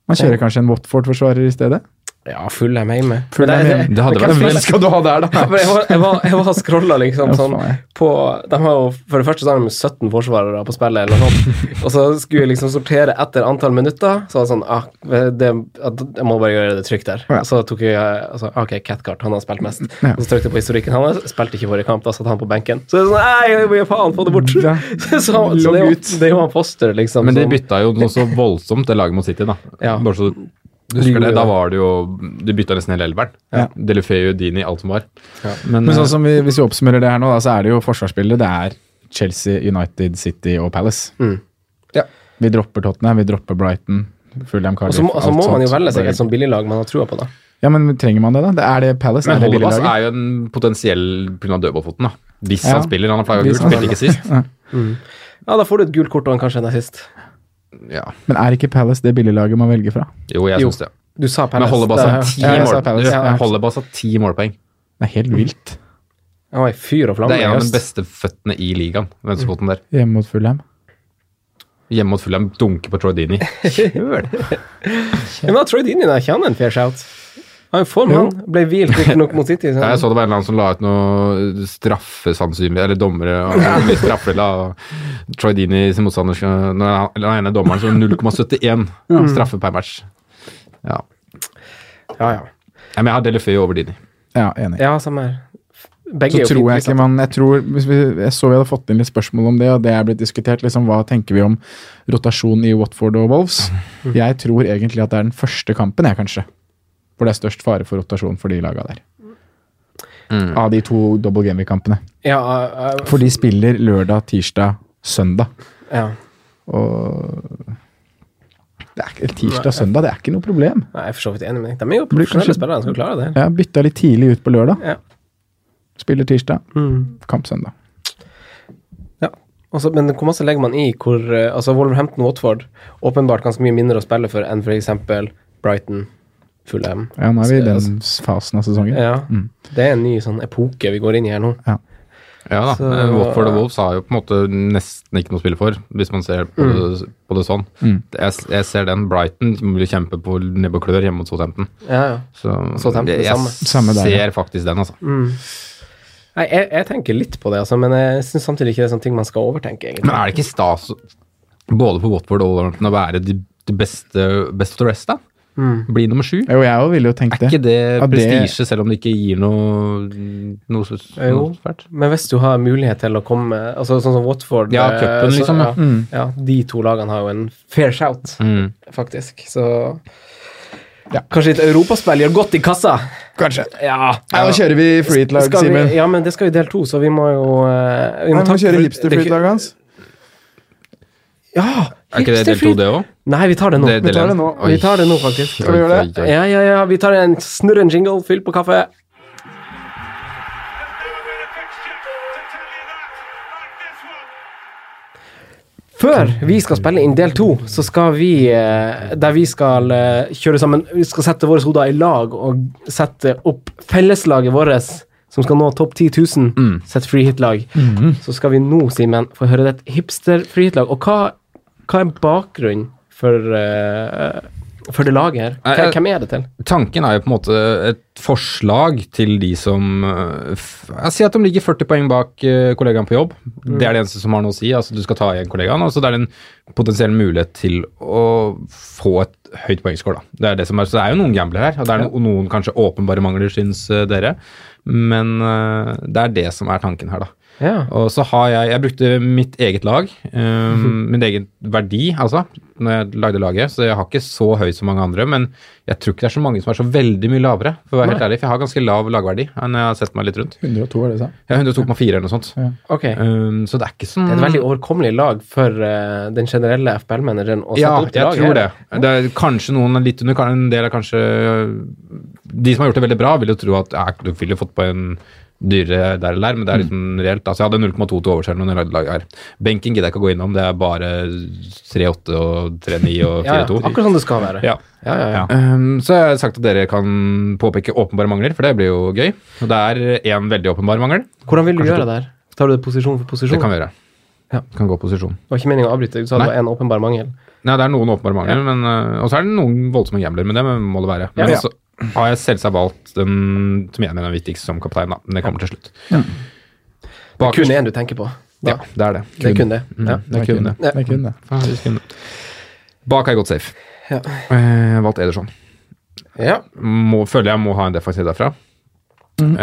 Man kjører kanskje en Watford-forsvarer i stedet?
Ja, Fulham hjemme.
Fulham
Men det-
hjemme.
Det hadde vært
Hvem skal du ha der, da?
For jeg var, jeg var, jeg var scrolla liksom
Ja,
sånn
faen.
på De har jo for det første så har de 17 forsvarere på spillet, eller noe sånt. Og så skulle jeg liksom sortere etter antall minutter. Så var det sånn ah, det, at Jeg må bare gjøre det trygt der.
Ja.
Og så tok jeg altså, OK, Catcart, han har spilt mest.
Ja.
Og så trykte jeg på historikken hans. Spilte ikke forrige kamp, da satt han på benken. Så det er sånn Nei, jeg må gi faen, få det bort!
Ja.
[laughs] Så, så det er jo- det er jo han Foster, liksom.
Men de
som-
bytta jo noe så voldsomt, det laget mot City, da.
Ja.
Bare så du
gjorde
husker det. Da
det.
var det jo De bytta nesten hele elveren.
Ja.
Delefeu, Dini, alt som var. Men,
Men
eh,
sånn som vi, hvis vi oppsummerer det her nå, da, så er det jo forsvarsspillere. Det er Chelsea, United, City og Palace.
Mm.
Ja.
Vi dropper Tottenham, vi dropper Brighton. Fulham,
og
Cardiff,
så må, altså,
alt
må man jo
sånt.
velge seg et sånt billiglag man har trua på, da.
Ja, men trenger man det, da? Det er det Palace?
men
er det
Holdebass
billiglaget?
er jo en potensiell pga. dødballfoten, da. Hvis
Ja.
han spiller. Han har flagga
Hvis
gult,
han
spilte ikke sist.
Ja, da får du et gult kort og en kanskje en assist.
Ja.
Men er ikke Palace det billiglaget man velger fra?
Jo, jeg
Jo.
syns det.
Du sa
Men
Palace.
Holdebass har ti
Ja, jeg sa
mål-
Palace, sånn ja.
du, Holdebass har ti målpoeng.
Det er
Mm.
helt vilt.
Han var i fyr og flamme.
Det er
i
en av de
høst.
beste føttene i ligaen, venstrefoten der.
Hjemme mot Fulham.
Hjemme mot Fulham, dunker på Troy Dini. Kjør!
[laughs] Ja, Men da tror jeg din er ikke han en fair shout. Han er i form, han. Ble hvilt riktignok mot City. så-
Ja, jeg så det var en eller annen som la ut noe straffe, sannsynlig, eller dommere og mye straffella. og Troy Dini sin motstander skal- når han- eller den ene dommeren så 0,71 straffe per match. Ja.
Ja, ja.
Nei, men jeg har Delefeu over Dini.
Ja, enig.
ja, samme her. Begge
Så
er jo fint
tror
liksom.
jeg ikke
prissatt.
man Jeg tror, hvis vi, jeg så vi hadde fått inn litt spørsmål om det, og det er blitt diskutert. Liksom, hva tenker vi om rotasjon i Watford og Wolves?
Mm.
Jeg tror egentlig at det er den første kampen, jeg, kanskje. Hvor det er størst fare for rotasjon for de laga der. Av de to double gaming-kampene.
Ja, ja, ja,
For de spiller lørdag, tirsdag, søndag.
ja.
Og det er ikke, Tirsdag og søndag det er ikke noe problem.
Nei, jeg er for så vidt enig med deg. De er jo
blir kanskje-
profesjonelle spillere, de skal klare det. her.
Jeg bytta litt tidlig ut på lørdag.
Ja. Mm.
Spiller tirsdag, kamp søndag.
Altså, men hvor masse legger man i hvor eh, altså Wolverhampton-Watford åpenbart ganske mye mindre å spille for enn f.eks. Brighton, Fulham
Ja, nå er vi i
Altså,
den Mm. fasen av sesongen.
ja, Det er en ny sånn epoke vi går inn i her nå.
Ja da.
Så-
eh, Watford og Wolves har jo på en måte nesten ikke noe å spille for, hvis man ser på,
Mm.
det, på det sånn. Jeg, jeg ser den Brighton som vil kjempe på nebb og klør hjemme mot Southampton.
Ja, ja.
Så
Southampton,
jeg, jeg
samme.
Samme der, ja.
ser faktisk den, altså.
Nei, jeg, jeg tenker litt på det, altså, men jeg syns samtidig ikke det er sånne ting man skal overtenke, egentlig.
Men er det ikke stas både på Watford og Wolverhampton å være de, de beste best of the rest, da? Bli nummer sju?
Jo, jeg òg ville jo tenkt
Er ikke
det.
det
Ja, det-
prestisje, selv om det ikke gir noe, noe, så-
Jo.
noe svært?
Men hvis du har mulighet til å komme altså Sånn som Watford
Ja,
eh,
cupen,
så-
liksom, ja.
Ja, ja, de to lagene har jo en fair shout,
Mm.
faktisk. Så ja. Kanskje et europaspill gjør godt i kassa?
Kanskje.
Ja.
Nei, nå kjører vi freeet-lag,
Skal vi-
Simen.
Ja, men det skal jo del to, så vi må jo eh, vi
Vi må
takke
kjøre
for- det er ikke-
hipster-freeet-laget hans.
Ja!
Er ikke det del to,
hipsterfreet-
det òg?
Nei, vi tar det nå.
Det er
vi, tar
del
det
én.
nå.
Oi.
vi tar det nå, faktisk.
Skal vi gjøre det?
Oi, oi, oi.
Ja, ja, ja. Vi tar en snurr en jingle, fyll på kaffe. Før vi skal spille inn del to, så skal vi eh, Der vi skal eh, kjøre sammen Vi skal sette våre hoder i lag og sette opp felleslaget vårt, som skal nå topp 10 000,
Mm.
sitt frihit-lag. Så skal vi nå, Simen, få høre et hipster-frihit-lag. Og hva, hva er bakgrunnen for, eh, for det laget her?
Nei,
Hvem-
jeg-
Hvem er det til?
Tanken er jo på en måte et forslag til de som øh, f- Jeg sier at de ligger 40 poeng bak øh, kollegaen på jobb. Det er det eneste som har noe å si. altså Du skal ta igjen kollegaen. og så Det er en potensiell mulighet til å få et høyt poengscore. da. Det er det som er, så det er jo noen gamblere her, og det er no, noen kanskje åpenbare mangler, syns øh, dere. Men øh, det er det som er tanken her, da.
Ja.
Og så har jeg Jeg brukte mitt eget lag, um, min egen verdi, altså, når jeg lagde laget. Så jeg har ikke så høy som mange andre, men jeg tror ikke det er så mange som er så veldig mye lavere, for å være helt ærlig. For jeg har ganske lav lagverdi når jeg har sett meg litt rundt.
102 var det du sa.
Jeg har 102,4 eller noe sånt.
Ok. Det
Um, så det er ikke sånn
er et veldig overkommelig lag for eh, den generelle FBL-manageren å sette
ja,
opp til
jeg
laget. her.
tror det. det er kanskje noen er litt under, kan- en del er kanskje De som har gjort det veldig bra, vil jo tro at ja, du ville fått på en dyrere der eller der, men det er
Mm.
liksom reelt. Altså, jeg hadde 0,2 til overs eller noe når jeg lagde laget her. Benken gidder jeg ikke å gå innom, det er bare 3,8 og 3,9 og 4,2.
Ja, ja. Akkurat sånn det skal være.
Ja. Um, så har jeg sagt at dere kan påpeke åpenbare mangler, for det blir jo gøy. Og det er én veldig åpenbar mangel.
Hvordan vil du
Kanskje
gjøre det her? Tar du det posisjon for posisjon?
Det kan vi gjøre.
Ja.
Kan gå posisjon.
Det var ikke meningen å avbryte. Du sa det
Nei.
var en åpenbar mangel.
Nei, det er noen åpenbare mangler, men, øh, og så er det noen voldsomme gambler, men det må det være. Men
Ja.
så har jeg selvsagt valgt den som jeg mener er viktigst som kaptein, da. Men det kommer til slutt. Bakerst-
Kun én du tenker på.
Ja,
Da.
det er det.
Det er kun det.
Mm,
Ja.
Det er kun det.
Det er kun det.
Faktisk kun det. Bak er godt safe.
Ja.
Eh, Jeg har valgt Ederson.
ja.
Må, føler jeg må ha en defensiv derfra. Eh,
Mm.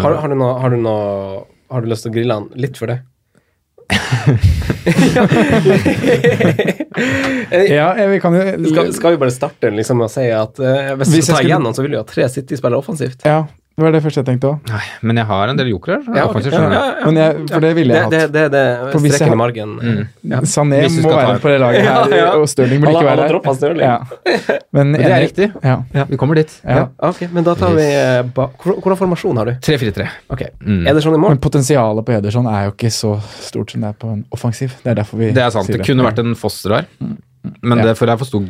Har, har, du noe, har du noe Har du lyst til å grille han litt for det?
Ja, jeg, vi kan jo
Skal, skal vi bare starte liksom med å si at eh, hvis,
Hvis
du
jeg
tar
skulle-
igjen han, så vil du jo ha tre City-spillere offensivt.
Ja, det var det første jeg tenkte òg.
Nei, men jeg har en del jokere.
Ja,
Ja,
ok.
faktisk, skjønner du.
Men jeg, for det ville
Det, det,
jeg hatt.
det, det
For hvis jeg
streken
har-
i margen.
Sané
Hvis du skal
må
ta
være
en.
på det laget her,
Ja, ja.
og
Han
Stirling burde
har-
ikke
han
være
har
der.
droppet Stirling.
Ja. Men,
det er
enig.
riktig.
Ja.
Vi kommer dit.
Ja.
Ok, men da tar vi eh, ba Hvor- Hvordan formasjon har du?
3-4-3.
Ok, Er det sånn i
Men
morgen?
potensialet på Ederson er jo ikke så stort som det er på en offensiv. Det er derfor vi
Det er sant. Det kunne vært en Foster her, men
Ja.
det for jeg forsto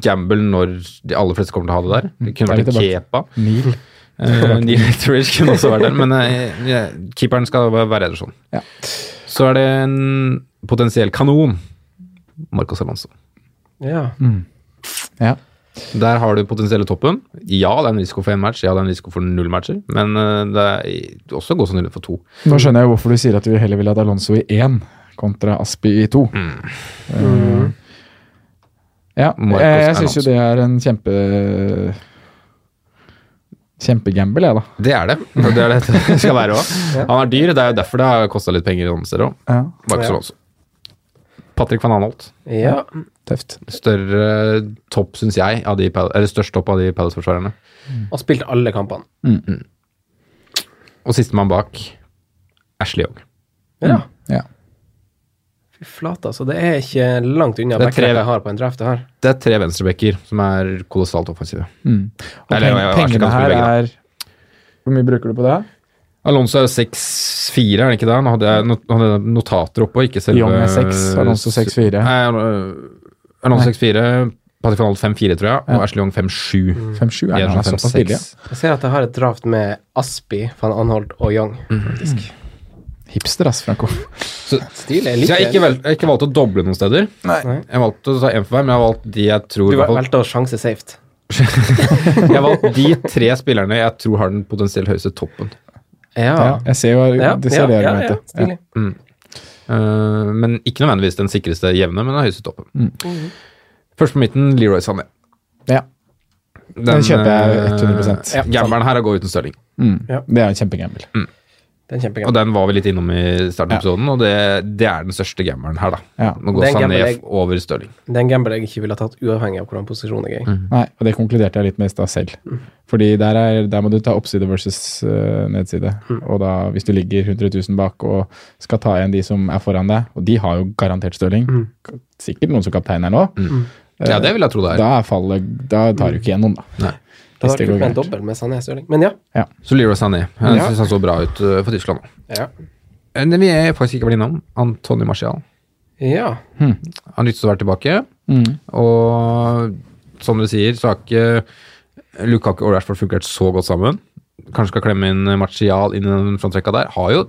gamble når de aller fleste kommer til å ha det der. Det kunne
Da er
vært en
vi
Kepa.
Mil.
Eh, [laughs]
[laughs]
Neil Etheridge kunne også vært der, men eh, jeg- keeperen skal være Ederson.
Ja.
Så er det en potensiell kanon. Marcos Alonso.
Ja.
Ja.
Der har du potensielle toppen. Ja, det er en risiko for én match, ja, det er en risiko for null matcher, men eh, det er også god sannsynlighet for to.
Nå skjønner jeg jo hvorfor du sier at du heller ville hatt Alonso i én kontra Aspi i to. Eh, ja,
Mm. Marcos
jeg, jeg syns
Alonso.
jo det er en kjempe Kjempegamble, jeg, da.
Det er det. og Det [laughs] er det det skal være òg. Han er dyr, det er jo derfor det har kosta litt penger i noen steder òg.
Ja,
Marcus
Ja.
Alonso. Patrick van Anholt.
Ja.
tøft.
Større topp, syns jeg, av de, Pal- eller størst topp av de Palace-forsvarerne.
Og spilt alle kampene.
Og sistemann bak, Ashley Young.
Ja.
Ja.
Fy flate, altså. Det er ikke langt unna
Det er tre-
backrekka jeg har på en draft her.
Det er tre venstrebacker som er kolossalt offensive.
Mm. Og
Eller,
peng,
ja, ja, Ashley
pengene
kan spille
her
begge, da.
er Hvor mye bruker du på det?
Alonso er jo 6-4, er det ikke det? Nå hadde jeg not- hadde jeg notater oppe, og ikke selve
Young er 6, Alonso 6-4.
Nei, Al- Alonso 6-4, Patrick van Anholt 5-4, tror jeg, og
Ja.
Ashley Young 5-7.
5-7
De
er, det,
er
han er
sånn
såpass billig.
5-6.
ja.
Jeg ser at jeg har et draft med Aspi, van Anholt og Young. Mm.
Hipster, ass, Franco.
Stil er
Så jeg har ikke, vel, jeg har ikke valgt å doble noen steder.
Nei.
Jeg valgte å ta én for hver, men jeg har valgt de jeg tror
Du
i hvert fall-
valgte å sjanse safe.
Jeg har valgt de tre spillerne jeg tror har den potensielt høyeste toppen.
Ja, jeg ser jo
Ja,
det ser
ja,
det
ja, ja,
argumentet. Ja,
stilig.
Eh, men ikke nødvendigvis den sikreste jevne, men den høyeste toppen.
Mm.
Først på midten, Leroy Sané.
Ja. Den kjøper jeg 100%.
eh, Gambelen her er gå uten Stirling.
Det er en kjempegamble.
Det er en
Og
kjempegamble.
den var vi litt innom i starten av episoden, og det, det er den største gambelen her, da.
Ja.
Nå
Det
går
er en
Sané
gamble jeg-
over Stirling.
Det er en gamble jeg ikke ville ha tatt, uavhengig av hvordan posisjon jeg er i.
Nei, og det konkluderte jeg litt med i stad selv. Fordi der, er, der må du ta oppside versus eh, nedside. Og da, hvis du ligger 100 000 bak og skal ta igjen de som er foran deg, og de har jo garantert Stirling, k- sikkert noen som kaptein her nå,
Mm.
eh,
Ja, det vil jeg tro det er.
da er fallet Da tar du ikke igjen noen, da.
Nei.
Det
Hvis
hadde vært kult
det går
med en
gærent.
dobbel med Sané Stirling. Men ja.
Så Leroy Sané. Jeg
Ja.
syns han så bra ut eh, for Tyskland nå. Eh,
Ja.
Men vi er faktisk ikke blitt innom Antony Marcial.
ja.
Han nyttes å være tilbake.
Mm.
Og som du sier, så har ikke Lukaku og Rashford fungert så godt sammen. Kanskje skal klemme inn Martial inn i den frontrekka der. Har jo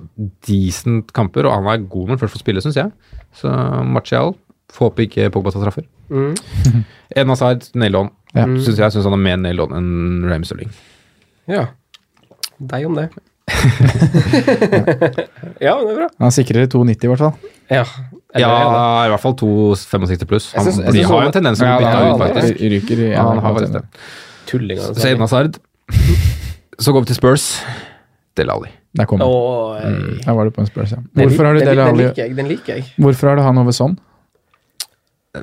decent kamper, og han er god når han først får spille, syns jeg. Så Martial får håpe ikke Pogba tar straffer. En Hazard, nail on.
Ja.
Synes jeg syns han er mer nail on enn Raheem Sterling.
ja. Deg om det. ja, men det er bra.
Han sikrer 2,90 i hvert fall.
Ja. Eller
Ja,
er det?
i hvert fall 2,65 pluss.
Jeg
Han,
synes- jeg
de
synes
har
han-
jo en tendens til å
Ja,
bytte
han
ut,
har det.
faktisk.
Ryker i
Ja, han har faktisk det.
Tulling. sånn?
Så Edna Sard. Så går vi til Spurs. Del Alli.
Der kom han.
eh,
Mm.
Den
Der var du på en spørsmål. ja. Mm. Hvorfor har du Dele Alli
liker jeg. Den liker jeg.
Hvorfor har du han over sånn?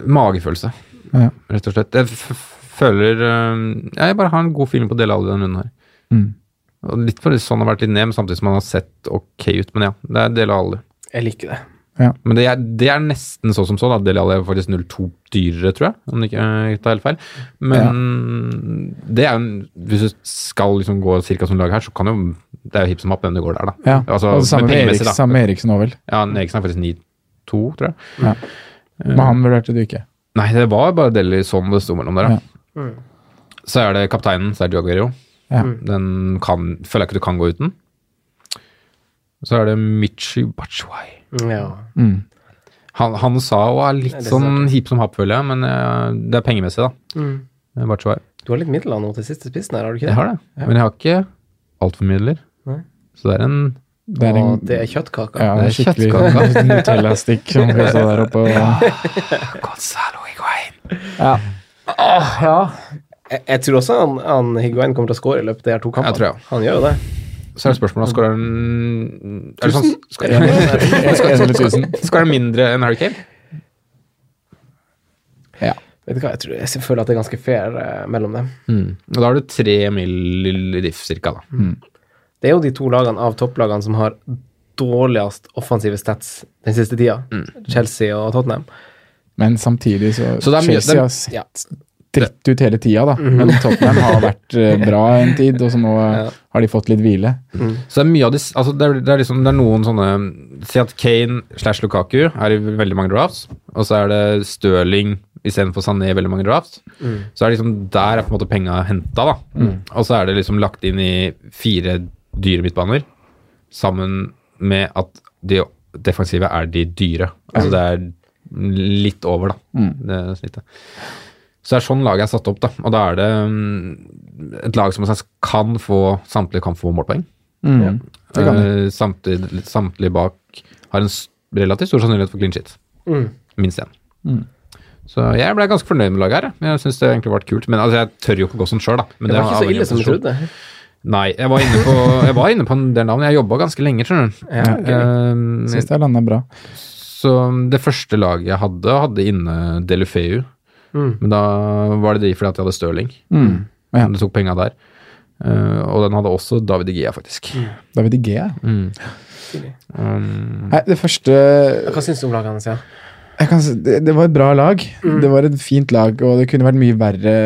Magefølelse,
Ja.
rett og slett. Jeg f f- føler øhm, Jeg bare har en god feeling på Del Alli denne runden her.
Mm.
Og litt fordi sånn har vært litt ned, men samtidig som han har sett ok ut. Men ja, det er Del Alli.
Jeg liker det.
Men det er, det er nesten så som sånn, så. da. Del Alli er faktisk 0,2 dyrere, tror jeg, om det ikke øh, tar helt feil. Men det er jo en, hvis du skal liksom gå cirka som lag her, så kan jo Det er jo hipp som happ hvem det går der, da.
Ja.
Altså,
og det samme
men
med
pengemessig,
Eriksen,
da.
samme med Eriksen òg, vel.
Ja, han Eriksen er faktisk 9,2, tror jeg.
Men han vurderte du ikke.
Nei, det var bare Delhi sånn det sto mellom der,
Ja.
ja. Så er det kapteinen, Sergio Aguero.
Ja.
Den kan, føler jeg ikke du kan gå uten. Så er det Michi Batshuayi.
Ja.
Han, han sa og er litt
det er
sånn hip som happ, føler jeg, men eh, det er pengemessig, da. Mm. Batshuayi.
Du har litt midler nå til siste spissen her, har du ikke det?
Jeg har det, men jeg har ikke altfor mye midler.
Nei.
Så det er en
Det er en
Og det er kjøttkaka.
ja, det er
det er
[laughs] skikkelig Nutella-stikk
[laughs]
som vi så der oppe. [laughs] Og,
Gonzalo Higuain.
ja.
Jeg, jeg tror også han, han Higuain kommer til å score i løpet av de her to kampene.
Jeg tror jeg.
Han gjør jo det.
Så er det spørsmålet skårer han er det sånn,
En
skårer,
eller tusen.
skårer han mindre enn Harry Kane?
[laughs] Vet du hva, jeg, tror, jeg føler at det er ganske fair eh, mellom dem.
Og da har du tre mil i diff, cirka, da.
Det er jo de to lagene av topplagene som har dårligst offensive stats den siste tida. Chelsea og Tottenham.
Men samtidig så,
Så det er Mhm. mye-
Chelsea
Ja.
har sett dritt ut hele tida, da. Men Tottenham har
[laughs]
vært eh, bra en tid, og så nå eh, har de fått litt hvile.
Så det er mye av de s- altså det, er, det, er liksom, det er noen sånne Si at Kane slash Lukaku er i veldig mange drafts, og så er det Stirling istedenfor Sané i veldig mange drafts. Så er det liksom der er på en måte penga henta, da. Og så er det liksom lagt inn i fire dyre midtbaner, sammen med at de defensive
Mm.
er de dyre. Altså det er litt over, da, det snittet. Så det er sånn laget er satt opp, da. Og da er det mm, et lag som kan få samtlige kan få målpoeng.
Mm. Ja, det kan
Eh, samtidig, samtlige bak har en s- relativt stor sannsynlighet for clean shit.
Mm.
Minst én.
Mm.
Så jeg ble ganske fornøyd med laget her. jeg. Jeg syns det egentlig ble kult. Men altså, jeg tør jo ikke å gå sånn sjøl, da. Men
Det var ikke så
avhengig
ille
av
som du
posisjon.
trodde.
Nei, jeg var inne på, jeg var inne på en del navn. Jeg jobba ganske lenge, skjønner du.
Ja, ok.
Ehm,
Syns det har landa bra.
så det første laget jeg hadde, hadde inne Delufeu.
Mm.
Men da var det de fordi at jeg hadde Stirling.
Mm.
Men Det tok penga der. Eh, og den hadde også David Igea, faktisk.
David De Gea.
Mm. Um,
Mm. Nei, det første
Hva syns du om laget hans, ja?
jeg kan, si- det, det var et bra lag.
Mm.
Det var et fint lag, og det kunne vært mye verre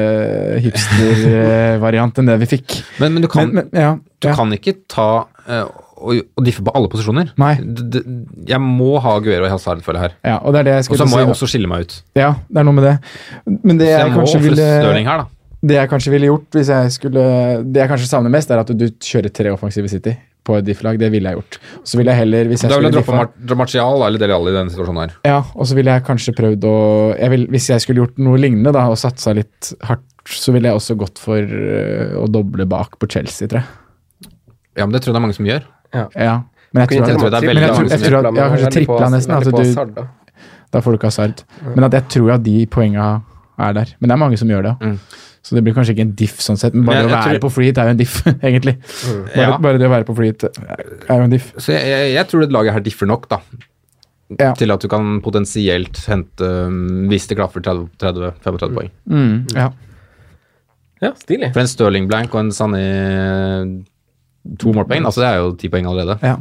eh, hipster-variant enn det vi fikk.
Men, men du kan,
Men- men- ja,
du
ja.
kan ikke ta eh, og, og diffe på alle posisjoner.
Nei.
D, d, jeg må ha Guero og Hazard, føler jeg her.
Ja, og det er det jeg
Og
skulle
så må
si
jeg
nå.
også skille meg ut.
Ja, det er noe med det. Men det
Så
jeg,
jeg må
kanskje
ofre
ville
Stirling her, da.
Det jeg kanskje ville gjort hvis jeg skulle Det jeg kanskje savner mest, er at du kjører tre offensive City på et diff-lag. Det ville jeg gjort. Så ville jeg heller hvis jeg
Da vil jeg
skulle
droppe
diffa-
Mar Martial da, eller Dele Alli i denne situasjonen her.
Ja, og så ville jeg kanskje prøvd å jeg vil, Hvis jeg skulle gjort noe lignende da, og satsa litt hardt, så ville jeg også gått for øh, å doble bak på Chelsea, tror jeg.
Ja, men det tror jeg det er mange som gjør.
Ja. Men jeg
Kunne
tror,
ikke
jeg,
tror det er
men
veldig
jeg tror,
mange
jeg
som
tror
gjør
at
det.
ja, kanskje
Veldig på-
tripla nesten.
veldig
At
på Hazard,
du,
da.
da får du ikke hasard. Men at jeg tror at de poenga er der. Men det er mange som gjør det.
Mm.
Så det blir kanskje ikke en diff sånn sett, men
Men
bare
jeg-
å
jeg
være
tror-
på flyet er jo en diff, [laughs] egentlig. Bare,
Ja.
bare det å være på flyet er jo en diff.
Så jeg, jeg, jeg tror det laget her differ nok, da.
Ja.
Til at du kan potensielt hente, um, hvis det klaffer, 30 30 35 poeng.
Mm, ja.
Ja, stilig.
For en Stirling blank og en Sané to målpoeng, altså det er jo ti poeng allerede.
ja.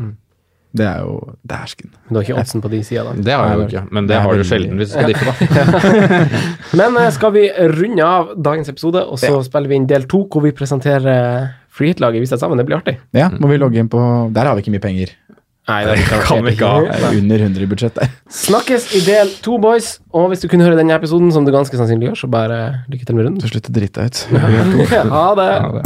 Det er jo Dæsken.
Men du har ikke oddsen på de sida, da.
Det har jeg jo ikke, men det
er
har du
veldig-
sjelden hvis du skal diffe, da.
Men eh, skal vi runde av dagens episode, og så spiller vi inn del to, hvor vi presenterer eh, Freehit-laget vi setter sammen. Det blir artig.
Ja, må vi logge inn på Der har vi ikke mye penger.
Nei, det
Kan vi ikke
Det
ha.
er jo under 100 i budsjett der.
[laughs] Snakkes i del to, boys. Og hvis du kunne høre denne episoden, som du ganske sannsynlig gjør, så bare eh, lykke til med runden.
Så slutt å drite deg ut. [laughs]
[laughs] Ha det.
Ja, det.